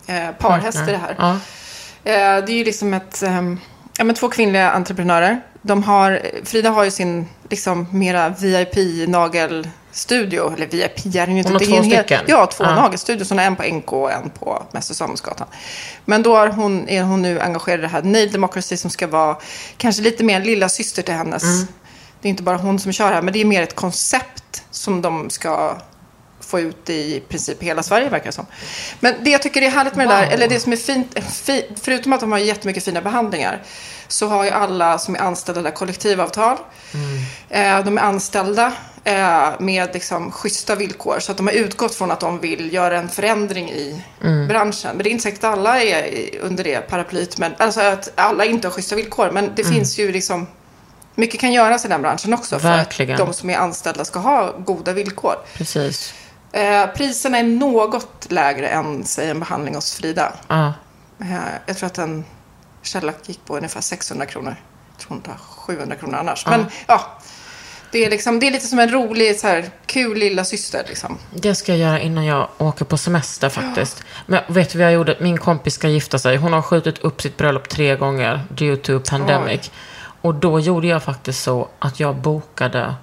eh, parhäst i det här. Ja. Eh, Det är ju liksom ett, ehm, ja, men två kvinnliga entreprenörer. De har, Frida har ju sin liksom, mera VIP-nagel nagelstudio. Eller VIP är den ju inte. Hon har det är två ju en hel- stycken? Ja, två Ja. nagelstudios. Hon har en på NK och en på Mäster Samuelsgatan. Men då är hon, är hon nu engagerad i det här Nail Democracy som ska vara kanske lite mer en lilla syster till hennes. Det är inte bara hon som kör här, men det är mer ett koncept som de ska få ut i princip hela Sverige verkar det som. Men det jag tycker är härligt med det där, eller det som är fint, fi, förutom att de har jättemycket fina behandlingar, så har ju alla som är anställda där kollektivavtal. Eh, de är anställda eh, med liksom schyssta villkor, så att de har utgått från att de vill göra en förändring i branschen. Men det är inte säkert att alla är i- under det paraplyet, men, alltså att alla inte har schyssta villkor, men det finns ju liksom mycket kan göras i den branschen också för Verkligen. att de som är anställda ska ha goda villkor. Precis. Eh, priserna är något lägre än, säg, en behandling hos Frida. Ja. Eh, jag tror att en källa gick på ungefär 600 kronor. Jag tror hon tar 700 kronor annars. Men ja, det är, liksom, det är lite som en rolig, så här, kul lilla syster liksom. Det ska jag göra innan jag åker på semester faktiskt. Men vet du vad jag gjorde? Min kompis ska gifta sig. Hon har skjutit upp sitt bröllop tre gånger due to pandemic. Och då gjorde jag faktiskt så att jag bokade,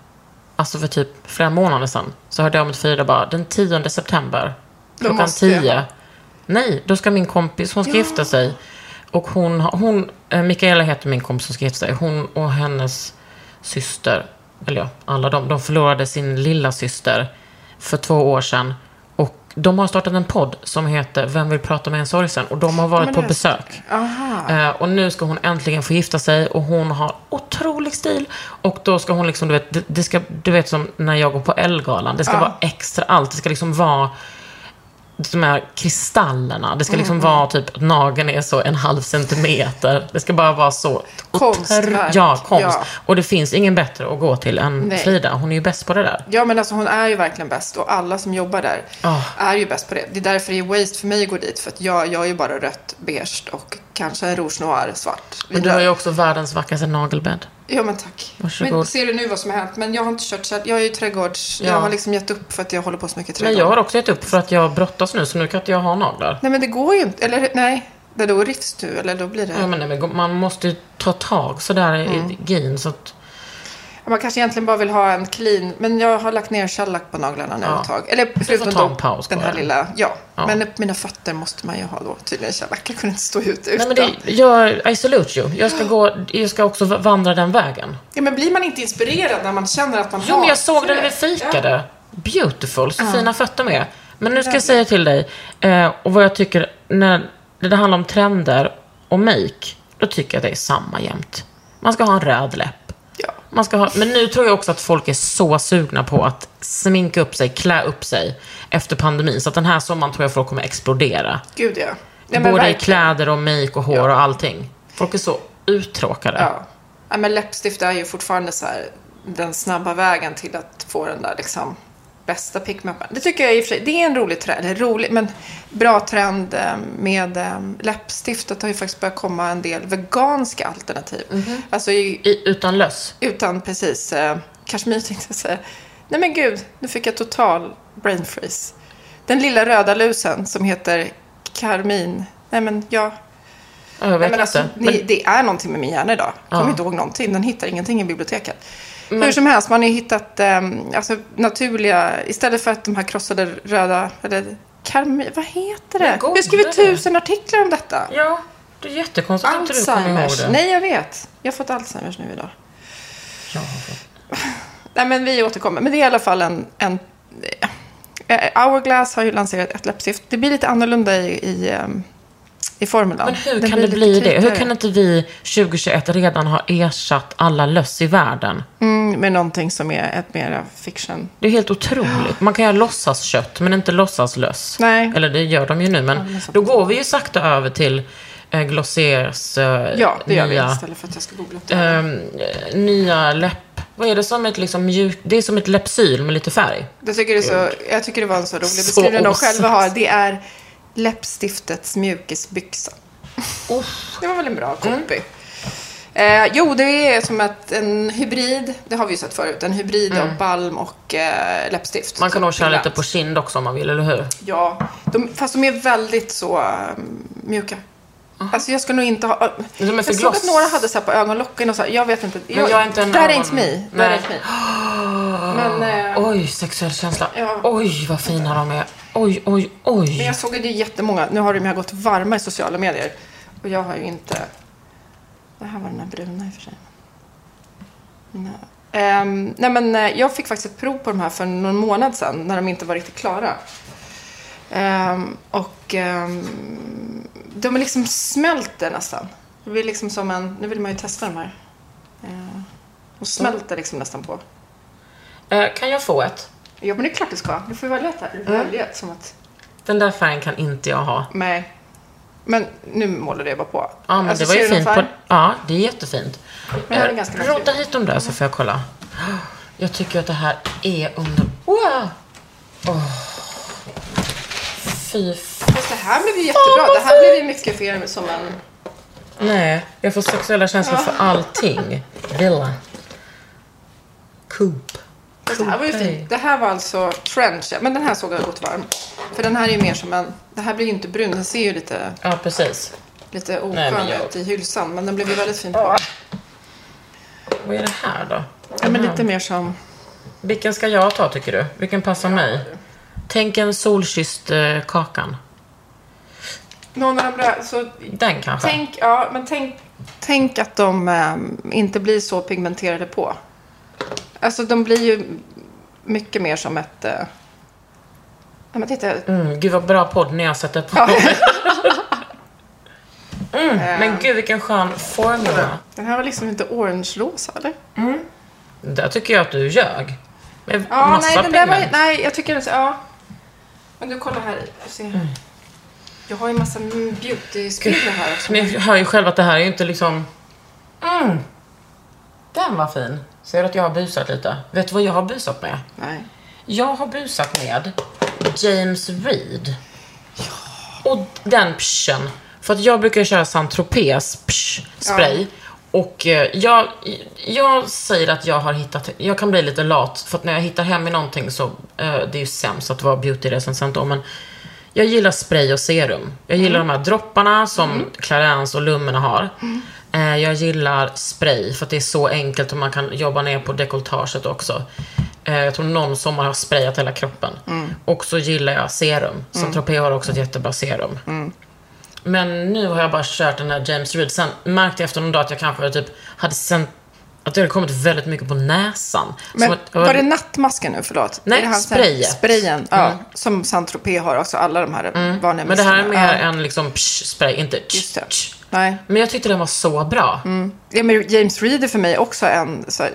alltså för typ flera månader sedan, så hörde jag om ett Frida bara, den 10 september Då klockan måste jag. 10. Nej, då ska min kompis, hon ska gifta sig. Och hon, har- hon eh, Mikaela heter min kompis som ska gifta sig. Hon och hennes syster, eller ja, alla de, de förlorade sin lilla syster för två år sedan. Och de har startat en podd som heter Vem vill prata med en sorgsen? Och de har varit på besök. Eh, och nu ska hon äntligen få gifta sig och hon har otrolig stil. Och då ska hon liksom, du vet, det, det ska, du vet som när jag går på Ellegalan. Det ska vara extra allt. Det ska liksom vara de här kristallerna. Det ska liksom vara typ att nageln är så en halv centimeter. Det ska bara vara så. Konstverk. Ja, konst. Ja. Och det finns ingen bättre att gå till än Nej. Frida. Hon är ju bäst på det där. Ja, men alltså hon är ju verkligen bäst och alla som jobbar där Ah. är ju bäst på det. Det är därför det är waste för mig att gå dit, för att jag gör ju bara rött, beige och kanske en rouge noir, svart. Men du har ju också världens vackraste nagelbädd. Ja men tack. Varsågod. Men ser du nu vad som har hänt? Men jag har inte kört så här- Jag är ju trädgårds... Ja. Jag har liksom gett upp för att jag håller på så mycket Men trädgård. jag har också gett upp för att jag brottas nu, så nu kan inte jag ha naglar. Nej men det går ju inte. Eller nej. Där då rivs du eller då blir det... Ja, men, nej, men man måste ju ta tag sådär Mm. i gin så att... Man kanske egentligen bara vill ha en clean. Men jag har lagt ner shellack på naglarna nu Ja. ett tag. Eller får förutom ta en då paus den här bara. lilla... Ja. Ja. Men upp mina fötter måste man ju ha då tydligen shellack. Jag kunde inte stå ut Nej utan. men det, jag, I salute you. Jag ska, gå, jag ska också v- vandra den vägen. Ja men blir man inte inspirerad när man känner att man Jo, har... men jag såg den när vi frö? fikade. Beautiful, så fina fötter med. Men nu ska jag säga till dig, eh, och vad jag tycker, när det handlar om trender och make, då tycker jag att det är samma jämt. Man ska ha en röd läpp. Ja. Man ska ha, men nu tror jag också att folk är så sugna på att sminka upp sig, klä upp sig efter pandemin. Så att den här sommaren tror jag folk kommer explodera. Gud ja. Nej, men Både i verkligen. kläder och make och hår och allting. Folk är så uttråkade. Ja. ja, men läppstift är ju fortfarande så här den snabba vägen till att få den där liksom bästa pigmappen. Det tycker jag i och för sig, det är en rolig trend, eller rolig, men bra trend eh, med eh, läppstift. Det har ju faktiskt börjat komma en del veganska alternativ. Alltså i, I, utan löss. utan precis eh, kashmir tänkte jag säga. Nej men gud, nu fick jag total brain freeze. Den lilla röda lusen som heter karmin. Nej men ja, Ja, Jag vet Nej, men alltså, inte. ni, det är någonting med min hjärna idag. Jag kommer inte ihåg någonting. Den hittar ingenting i biblioteket. Hur som helst, man har ju hittat ehm, alltså, naturliga... Istället för att de här krossade röda... Eller, karmi, vad heter det? Jag googla har skrivit det. tusen artiklar om detta. Ja, det är jättekonstigt att inte du kommer ihåg Alzheimers. det. Nej, jag vet. Jag har fått Alzheimers nu idag. Nej, men vi återkommer. Men det är i alla fall en... en eh, Hourglass har ju lanserat ett läppstift. Det blir lite annorlunda i, i, ehm, i formulan. Men hur Den kan det lite bli det? Hur tydligare. kan inte vi 2021 redan ha ersatt alla löss i världen? Mm, med någonting som är ett mera fiction. Det är helt otroligt. Man kan ju låtsas kött men inte låtsas löss. Nej. Eller det gör de ju nu, men då går vi ju sakta över till eh, Glossiers eh, Ja, det gör vi nya, istället för att jag ska googla upp det. ehm, eh, nya läpp... Vad är det som ett liksom mjuk... Det är som ett läppsyl med lite färg. jag, tycker det är så, jag tycker det var en så rolig Så beskrivning de osexigt. själva har. Det är läppstiftets mjukisbyxa. Mm. Det var väl en bra copy. Eh, jo, det är som att en hybrid, det har vi ju sett förut, en hybrid av balm och eh, läppstift. Man kan Så nog köra lite glatt. på kind också om man vill, eller hur? Ja, de, fast de är väldigt så um, mjuka. Alltså jag ska nog inte ha... Men de är jag för såg gloss. att några hade så här på ögonlocken och så här, jag vet inte. jag är inte en that ögon- ain't me. That Nej. ain't me. Men, eh, Oj, sexuell känsla. Ja. Oj, vad fina de är. Oj, oj, men oj. jag såg ju det är jättemånga. Nu har de ju gått varma i sociala medier. Och jag har ju inte... Det här var den här bruna i och för sig. Nej. Ehm, nej men, eh, jag fick faktiskt ett prov på de här för någon månad sedan när de inte var riktigt klara. Ehm, och ehm, de är liksom smälter nästan. Det blir liksom som en... Nu vill man ju testa de här. Ehm, och smälter liksom nästan på. Eh, kan jag få ett? Ja men det är klart du ska. Du får ju välja ett här. Du får välja ett som att... Den där färgen kan inte jag ha. Nej. Men nu målade jag bara på. Ja, men Alltså, det var ju ser du fint. någon På, färg? ja, det är jättefint. Men jag har en ganska mörk Rodda hud. hit dem där så får jag kolla. Jag tycker att det här är under... Wow! Åh. Fy fan. Fast det här blev ju jättebra. Det här blev ju mycket för er som en... Nej, jag får sexuella känslor för allting. Villa. Coop. Fast det här var ju Okej. fint. Det här var alltså trench. Men den här såg jag har gått varm. För den här är ju mer som en... Det här blir ju inte brun. Den ser ju lite, Ja, precis. lite Nej, men oskön jag- ut i hylsan. Men den blev ju väldigt fin på. Vad är det här då? Ja, Mm. men lite mer som... Vilken ska jag ta tycker du? Vilken passar mig? Tänk en solkysst eh, kakan. Någon av de där... Så Den kanske? tänk, ja, men tänk, tänk att de ehm, inte blir så pigmenterade på. Alltså de blir ju mycket mer som ett... Eh, ja, men titta, Mm, gud vad bra podd när jag sätter på mig. mm, Eh, men gud vilken skön formula. Den här var liksom inte orange-rosa, eller? Där tycker jag att du ljög. Med Ja, massa nej, den där var, pigment. nej, jag tycker inte... Ja. Men du, kolla här i. Se. Mm. Jag har ju en massa mm, beauty-spillror här också. Ni hör ju själva att det här är ju inte liksom... Mm. Den var fin. Ser du att jag har busat lite? Vet du vad jag har busat med? Nej. Jag har busat med James Reed. Och den pschen. För att jag brukar köra Saint-Tropez psch, spray. Och eh, jag, jag säger att jag har hittat, jag kan bli lite lat för att när jag hittar hem i någonting så, eh, det är ju sämst att vara beautyrecensent om men jag gillar spray och serum. Jag gillar de här dropparna som Clarence och Lumina har. Eh, jag gillar spray för att det är så enkelt och man kan jobba ner på dekolletaget också. Eh, jag tror någon sommar har sprayat hela kroppen. Mm. Och så gillar jag serum. Så Tropez har också ett jättebra serum. Mm. Men nu har jag bara kört den här James Reed. Sen märkte jag efter någon dag att jag kanske typ hade sen, att det hade kommit väldigt mycket på näsan. Men Som att, var det nattmasken nu? Förlåt. Nej, Är det här sen- sprayet. Sprayen, ja. Som Saint-Tropez har också. Alla de här vanliga Mm. Men det här är misterna. mer ja. en liksom psch, spray, inte tsch, Just det. Mm, tsch. Nej. Men jag tyckte den var så bra. Ja, men James Reed är för mig också en... Så här,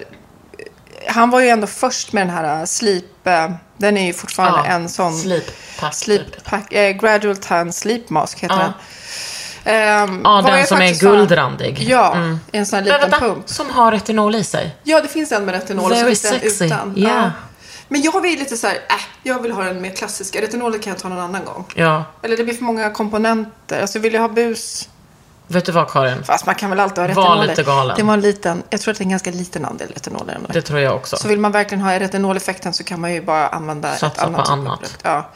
han var ju ändå först med den här äh, slip... äh, Den är ju fortfarande Ja, en sån... sleep pack, Sleep typ. pack, eh, gradual tan sleep mask heter Ja. den. Ehm, Ja, vad den jag som är faktiskt sa- guldrandig. Ja, en sån här Men liten vänta, pump. som har retinol i sig. Ja, det finns en med retinol och så Very finns det en sexy. utan. Ja. Men jag vill lite så här, äh, jag vill ha den mer klassiska. Retinolet kan jag ta någon annan gång. Ja, Eller det blir för många komponenter. Alltså vill jag ha bus? vet du vad Karin? Fast man kan väl alltid ha Var retinol. lite galen. Det var en liten, jag tror att det är en ganska liten andel retinol i den där. Det tror jag också. Så vill man verkligen ha retinoleffekten så kan man ju bara använda ett Satsa på annat typ av annat. produkt. Ja.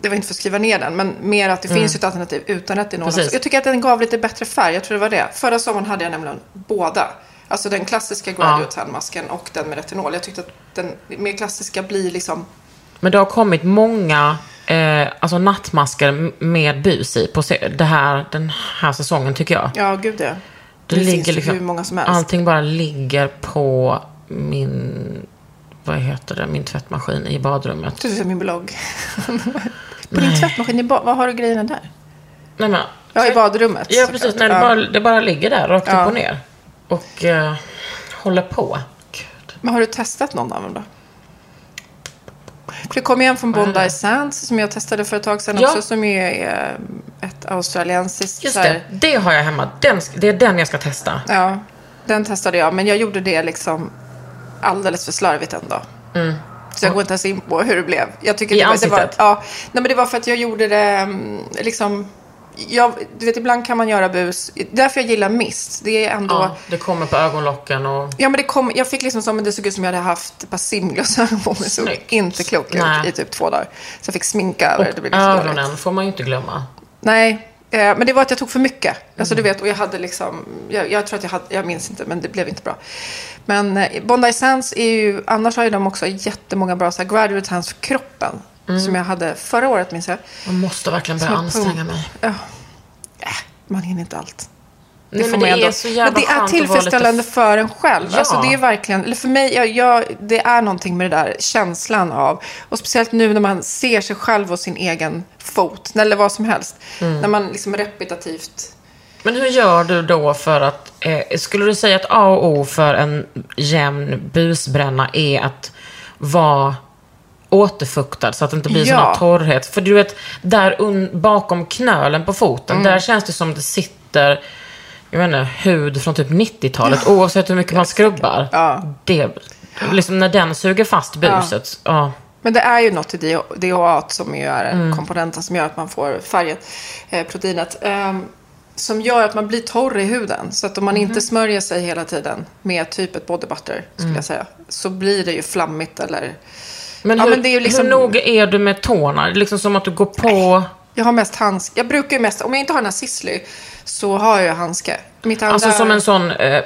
Det var inte för att skriva ner den, men mer att det finns ju ett alternativ utan retinol. Mm. Precis. också. Jag tycker att den gav lite bättre färg, jag tror det var det. Förra sommaren hade jag nämligen båda. Alltså den klassiska graduate masken och den med retinol. Jag tyckte att den mer klassiska blir liksom... Men det har kommit många eh, alltså nattmasker m- med bus i på se- det här, den här säsongen tycker jag. Ja, gud ja. Det, liksom finns ju hur många som helst. Allting bara ligger på min, vad heter det, min tvättmaskin i badrummet. Du ser min blogg. På din tvättmaskin, i ba- vad har du grejerna där? Nej, men, Ja, i badrummet. ja, såklart. precis. Nej, det, Ja. bara, det bara ligger där, rakt Ja. upp och ner. Och eh, håller på. Gud. Men har du testat någon av dem då? För det kom ju en från Bondi Sands som jag testade för ett tag sedan Eh. Ja. också som ju är eh, ett australiensiskt Just så här- det, det har jag hemma. Den, sk- det är den jag ska testa. Ja, den testade jag men jag gjorde det liksom alldeles för slarvigt ändå. Så jag går inte ens in på hur det blev. Jag tycker Mm. I det var, det var, ansiktet? ja, nej men det var för att jag gjorde det mm, liksom jag, du vet, ibland kan man göra bus. Därför jag gillar mist. Det är ändå... Ja, det kommer på ögonlocken och... Ja, men det kom, jag fick liksom som det såg ut som jag hade haft ett par simglasögon på mig. Såg Snyggt. inte klok ut Nej. i typ två dagar. Så jag fick sminka över det. Det blev Och lite dåligt. ögonen får man ju inte glömma. Nej, Eh, men det var att jag tog för mycket. Alltså, Mm. du vet, och jag hade liksom, jag, jag tror att jag hade, jag minns inte, men det blev inte bra. Men eh, Bondi Sands är ju, annars har ju de också jättemånga bra så här, graduate hands för kroppen. Mm. Som jag hade förra året, minns jag. Jag måste verkligen börja Som en anstränga pump. mig. Ja. Äh, man hinner inte allt. Det Nej, får men man det ändå. är så jävla men det är skönt att vara lite tillfredsställande för en själv. Ja. Alltså, det är verkligen, eller för mig, jag, jag, det är någonting med det där känslan av, och speciellt nu när man ser sig själv och sin egen fot, eller vad som helst, Mm. när man liksom repetitivt Men hur gör du då för att, eh, skulle du säga att A och O för en jämn busbränna är att vara återfuktad så att det inte blir Ja. sån här torrhet? För du vet, där un- bakom knölen på foten, där känns det som det sitter jag vet inte, hud från typ 90-talet, oavsett hur mycket man skrubbar. Ja. Det, liksom när den suger fast buset. Ja. Men det är ju något i DHA som ju är Mm. komponenten som gör att man får färget, eh, proteinet, ehm, som gör att man blir torr i huden. Så att om man Mhm. inte smörjer sig hela tiden med typ ett body butter, skulle Mm. jag säga, så blir det ju flammigt eller... Men, Ja, hur, men det är ju liksom- hur noga är du med tårna? Det är Liksom som att du går på... Jag har mest handske. Jag brukar ju mest, om jag inte har den här Sisley, så har jag handske. Mitt andra, Alltså som en sån, eh,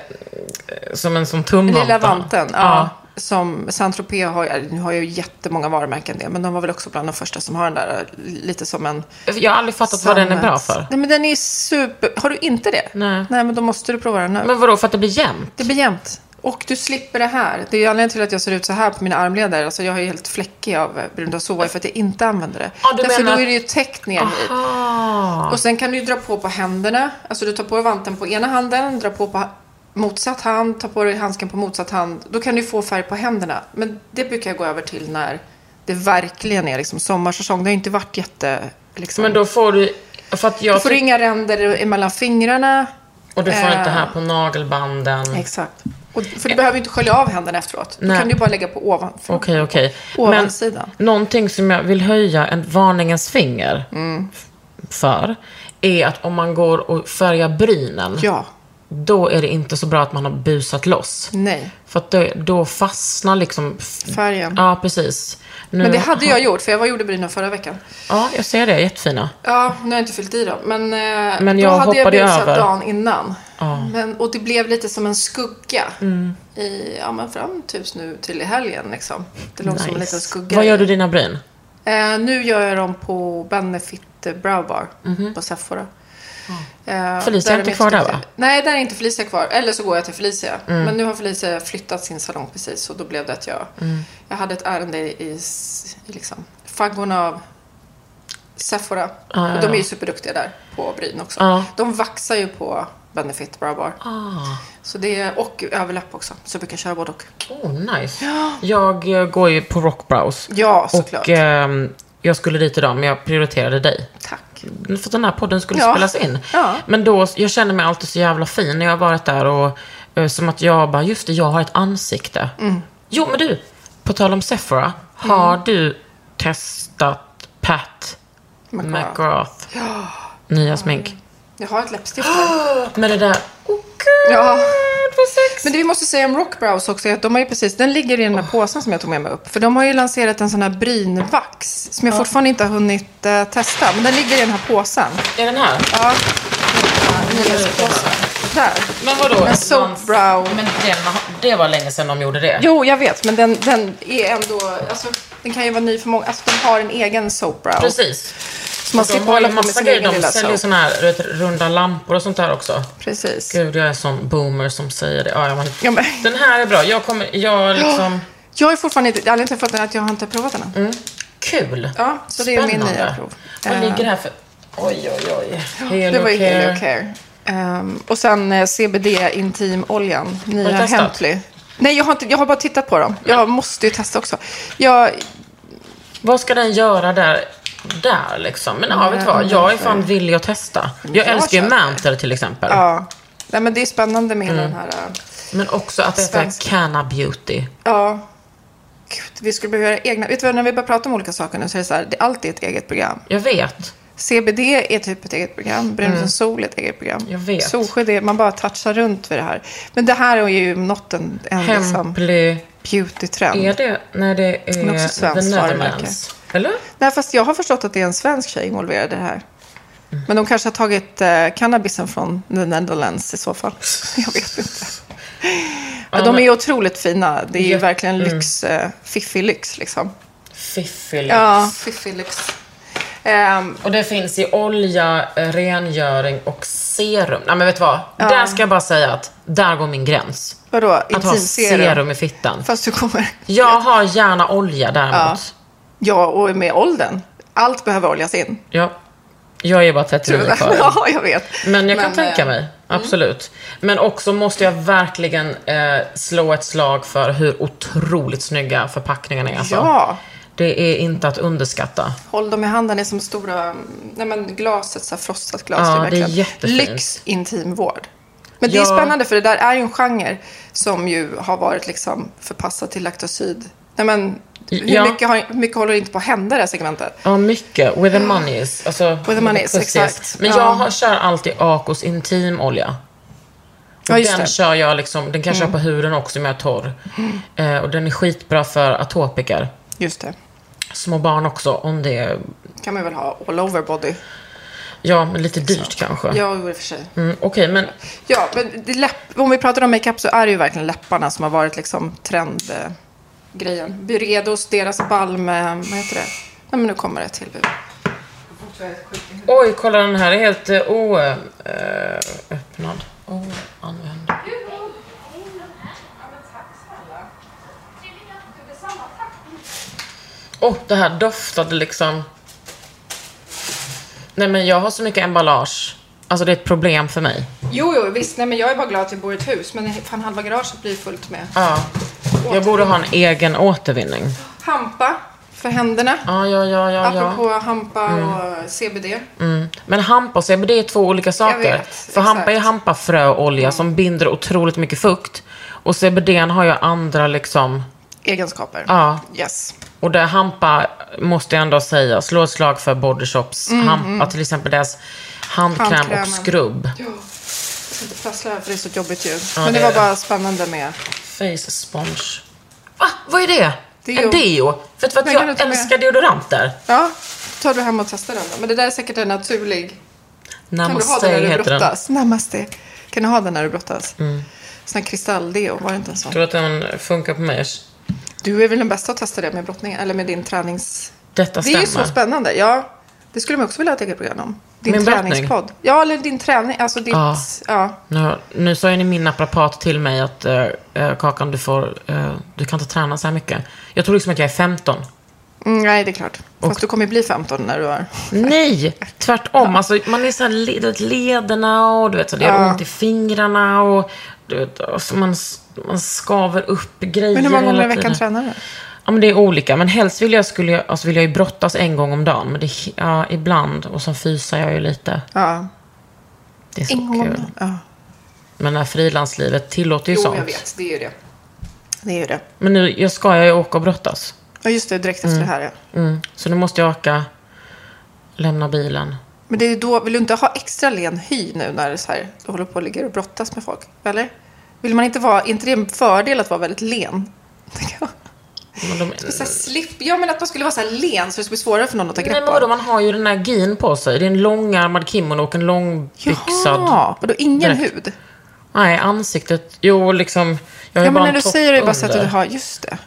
som en sån tumvante. lilla vanten, ja. Som saint Tropez har, eller nu har jag ju jättemånga varumärken det, men de var väl också bland de första som har den där, eh, lite som en... Jag har aldrig fattat vad den är bra Sammets. för. Nej, men den är super... Har du inte det? Nej. Nej, men då måste du prova den nu. Men vadå, för att det blir jämnt? Det blir jämnt. Och du slipper det här. Det är ju anledningen till att jag ser ut så här på mina armleder. Alltså jag är ju helt fläckig av eh, brundassova är för att jag inte använder det. Ja, du Därför menar då är att- det ju täckt ner hit. Ah. Och sen kan du ju dra på på händerna. Alltså du tar på dig vanten på ena handen, drar på på ha- motsatt hand, tar på dig handsken på motsatt hand. Då kan du ju få färg på händerna. Men det brukar jag gå över till när det verkligen är liksom sommarsäsong. Det har ju inte varit jätte... Liksom, Men då får du... För att du jag får tyck- inga ränder mellan fingrarna. och du får eh, inte här på nagelbanden. Okej, Exakt. Och, för du behöver ju inte skölja av händerna efteråt. Då Nej. kan du ju bara lägga på ovanför. okej. Men Ovansidan. någonting som jag vill höja en varningens finger Mm. f- för är att om man går och färgar brynen, Ja. då är det inte så bra att man har busat loss. Nej. För att då, då fastnar liksom... Färgen. Ja, precis. Nu- Men det hade jag gjort, för jag var gjorde brynen förra veckan. Ja, jag ser det. Jättefina. Ja, nu har jag inte fyllt i dem. Men, eh, Men då jag hade jag hoppade busat över. dagen innan. Men, och det blev lite som en skugga. Mm. I, ja, men fram tills nu till i helgen liksom. Det låg som en liten skugga. Vad gör i- du dina bryn? Eh, nu gör jag dem på Benefit Brow Bar på Sephora. Eh, Mhm. Felicia där är inte de kvar där, duktiga. va? Mm. Nej, där är inte Felicia kvar. Eller så går jag till Felicia. Men nu har Felicia flyttat sin salong precis och då blev det att jag... Mm. Jag hade ett ärende i, s- i liksom, faggorna av Sephora. och de är ju superduktiga där på bryn också. Ja. De vaxar ju på Benefit Brow Bar. Ah, Så det är, och överlapp också. Så jag brukar köra både och. Oh, nice. Jag eh, går ju på Rockbrows. Ja, såklart. Och ehm, jag skulle dit idag, men jag prioriterade dig. Tack. För den här podden skulle Ja. spelas in. Ja. Men då, jag känner mig alltid så jävla fin när jag har varit där och eh, som att jag bara, just det, jag har ett ansikte. Mm. Jo, men du, på tal om Sephora, har du testat Pat McGrath. McGrath, nya smink? Jag har ett läppstift här. Med det där, oh gud, Ja. vad sex. Men det vi måste säga om Rockbrows också är att de har ju precis, den ligger i den här Oh. påsen som jag tog med mig upp. För de har ju lanserat en sån här brynvax som jag fortfarande inte har hunnit eh, testa. Men den ligger i den här påsen. Är den här? Ja. Nyhetspåsen. Där. Men vadå? Men soap brow. Men den, det var länge sedan de gjorde det. Jo, jag vet, men den, den är ändå, alltså den kan ju vara ny för många. Alltså de har en egen soap brow. Precis. Så man de slipper har ju hålla på med massa sin grejer. egen De lilla säljer soap. såna här du vet, runda lampor och sånt där också. Precis. Gud, jag är sån boomer som säger det. Ja, jag var... Ja, men- Den här är bra. Jag kommer... Jag liksom... Jag är fortfarande inte, anledningen till att jag fått den är att jag har inte provat den än. Kul! Ja, så det är min Spännande. nya prov. Vad Eh. ligger här för... Oj, oj, oj. Hello Det var ju Care. Heliocare. Ehm, och sen eh, CBD Intimoljan, nya du testat? Hemply. Nej, jag har, inte, jag har bara tittat på dem. Jag måste ju testa också. Jag, Vad ska den göra där? Där liksom. Men ja, vet du vad? Jag är fan villig att testa. Jag Mm. jag älskar ju köper. Manter till exempel. ja. Nej, men det är spännande med Mm. den här... eh, Men också att äta Svensk. Canna Beauty. Ja. Gud, vi skulle behöva göra egna. Vet du vad, när vi börjar prata om olika saker nu så är det så här, det, allt är ett eget program. Jag vet. CBD är typ ett eget program. Brun mm. sol är ett eget program. Jag vet. Solskydd är, man bara touchar runt vid det här. Men det här är ju nått en, en liksom Hemply. beauty-trend. Är det när det Men också är svenskt The Netherlands? Eller? Nej, fast jag har förstått att det är en svensk tjej involverad i det här. Men de kanske har tagit eh, cannabisen från The Netherlands i så fall. Jag vet inte. Men de är ju otroligt fina. Det är ju verkligen Mm. lyx, eh, fiffig lyx liksom. Fiffig Ja, fiffig lyx. Ehm, Och det finns i olja, eh, rengöring och serum. Nej men vet du vad? Där ska jag bara säga att där går min gräns. vadå? Att ha Intimserum? serum i fittan. Fast du kommer... Jag har gärna olja däremot. Ja, och med åldern. Allt behöver oljas in. Ja. Jag är Mm. bara 39 kvar. Ja, jag vet. Men jag kan eh, tänka mig, absolut. Men också måste jag verkligen eh, slå ett slag för hur otroligt snygga förpackningarna är. Alltså. Ja, Det är inte att underskatta. håll dem i handen. Det är som stora... Nej, men glaset, så här frostat glas. Ja, är det är verkligen jättefint. Lyx, intimvård. Men det är Ja. spännande, för det där är ju en genre som ju har varit liksom förpassad till laktosid. Nej, men hur Ja. mycket, har, mycket håller inte på att hända i det här segmentet? Ja, mycket. With the money is. Alltså, with the money is, exakt. Men Ja. jag har, kör alltid Acos intimolja. Och Ja, just den det. Mm. kör jag liksom, den kan jag köra på huden också om jag är torr. Eh, och den är skitbra för atopiker. Just det. Små barn också, om det är, kan man väl ha all over body. ja, men lite dyrt kanske. Ja, i och för sig. Mm, Okej, men Ja, men det läpp, om vi pratar om makeup så är det ju verkligen läpparna som har varit liksom trendgrejen. Eh, grejen. Byredos, deras balm... Eh, vad heter det? Nej, men nu kommer det till huvud. oj, kolla den här är helt eh, o... Eh, öppnad. Oanvänd. Och det här doftade liksom... Nej men jag har så mycket emballage. Alltså det är ett problem för mig. Jo, jo, visst. Nej, men jag är bara glad att vi bor i ett hus. Men fan, halva garaget blir fullt med Ja. Jag borde ha en egen återvinning. hampa för händerna. Ja, ja, ja, ja, Apropå ja. hampa och CBD. Mm. Men hampa och CBD är två olika saker. vet, för hampa är exakt. Mm. hampafröolja som binder otroligt mycket fukt. Och CBD har ju andra liksom... Egenskaper. Ja. Yes. Och där hampa, måste jag ändå säga, slå ett slag för Body Shops hampa. Till exempel deras handkräm Mm, Handkrämen. och skrubb. Jo. Jag ska inte prassla här för det är så jobbigt ljud. Ja, men det, det var är det. bara spännande med... Face sponge. Va? Vad är det? Deo. En deo? Vet du vad, Den jag kan du ta med. älskar deodoranter. Ja, tar du hem och testar den då. Men det där är säkert en naturlig... Kan du ha Namaste den när du heter den. brottas? Namaste. Kan du ha den när du brottas? Mm. Sån här kristalldeo, var det inte en sån? Tror att den funkar på mig? Du är väl den bästa att testa det med brottning, eller med din tränings... Detta Det är stämmer. ju så spännande. Ja, det skulle man också vilja ha ett eget program om. Din Min brottning? träningspodd. Ja, eller din träning, alltså ditt... Ja. Ja. Nu, nu sa ju ni min naprapat till mig att eh, eh, Kakan, du, får, eh, du kan inte träna så här mycket. Jag tror liksom att jag är 15. Mm, nej, det är klart. Fast du kommer ju bli 15 när du är... Nej, tvärtom. Alltså, man är så här, le- du vet, lederna och du vet, så det gör ont i fingrarna och du vet, alltså, man, s- man skaver upp grejer Men hur många gånger hela i veckan tiden. tränar du? Ja, men det är olika. Men helst vill jag, skulle jag, alltså, vill jag ju brottas en gång om dagen. Men det, ja, ibland, och sen fysar jag ju lite. Ja, Det är så en gång om kul. dagen. Ja. Men det här frilanslivet tillåter ju Jo, sånt. jag vet. Det är ju det. Det är ju det. Men nu jag ska jag ju åka och brottas. Ja, just det. Direkt efter det här, ja. Mm. Så nu måste jag åka, lämna bilen. Men det är ju då, vill du inte ha extra len hy nu när det så här, du håller på och ligger och brottas med folk? Eller? Vill man inte vara, är inte det en fördel att vara väldigt len? Tänker jag. Men de, Så här, slip, ja men att man skulle vara så här len så det skulle bli svårare för någon att ta Nej grepp men vadå, om. man har ju den här gin på sig. Det är en långärmad kimono och en långbyxad... Jaha, vadå ingen Direkt. hud? Nej, ansiktet. Jo, liksom... Jag har ju Ja men bara när en du topp säger det är bara så att under. du har, just det.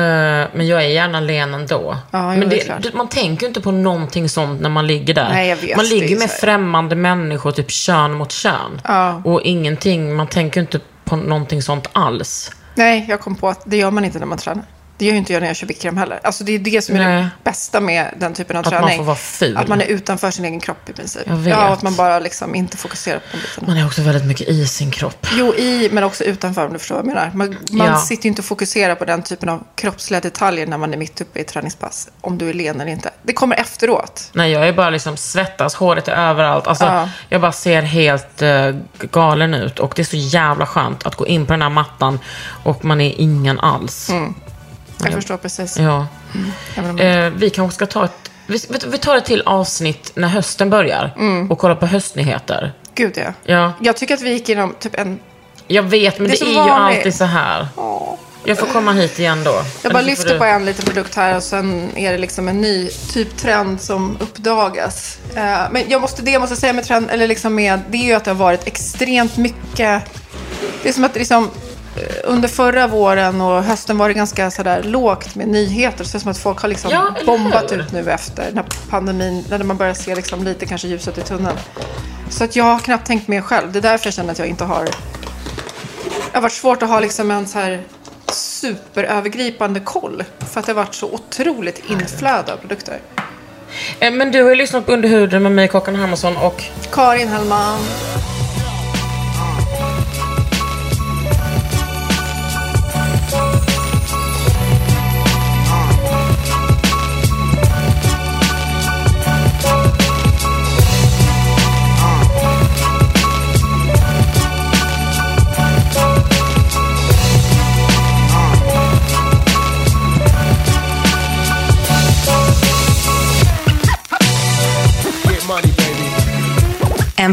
Eh, men jag är gärna len ändå. Ja, jo, men det är klart. du- man tänker ju inte på någonting sånt när man ligger där. Nej, jag vet, man det är ligger ju med så här. främmande människor, typ kön mot kön. Ja. Och ingenting, man tänker ju inte på någonting sånt alls. Nej, jag kom på att det gör man inte när man tränar. Det gör ju inte jag när jag kör bikram heller. Alltså det är det som är Nej. det bästa med den typen av man träning. får vara ful. Att man är utanför sin egen kropp i princip. Jag vet. Ja, och att man bara liksom inte fokuserar på de bitarna. Man är också väldigt mycket i sin kropp. Jo, i, men också utanför om du förstår vad jag menar. Man, man Ja. sitter ju inte och fokuserar på den typen av kroppsliga detaljer när man är mitt uppe i ett träningspass. Om du är len eller inte. Det kommer efteråt. Nej, jag är bara liksom svettas, håret är överallt. Alltså, Ja. Jag bara ser helt eh, galen ut. Och det är så jävla skönt att gå in på den här mattan och man är ingen alls. Jag förstår precis. Ja. Mm. Jag menar, Eh, vi kanske ska ta ett... Vi, vet du, vi tar ett till avsnitt när hösten börjar och kollar på höstnyheter. Gud Mm. ja. Ja, Jag tycker att vi gick igenom typ en... jag vet, men Det är det, som är ju vanligt. alltid så här. Åh. Jag får komma hit igen då. Jag bara lyfter på en liten produkt här och sen är det liksom en ny typ trend som uppdagas. Eh, Men jag måste, det jag måste säga med trend, eller liksom med, det är ju att det har varit extremt mycket... Det är som att liksom, eh, under förra våren och hösten var det ganska sådär lågt med nyheter. Så det är som att folk har liksom Ja, eller bombat hur? ut nu efter den här pandemin, när man börjar se liksom lite kanske ljuset i tunneln. Så att jag har knappt tänkt mer själv. Det är därför jag känner att jag inte har det har varit svårt att ha liksom en så här superövergripande koll. För att det har varit så otroligt inflöde av produkter. Eh, Men du har ju lyssnat på Under huden med mig, Kakan Hermansson och Karin Hellman. En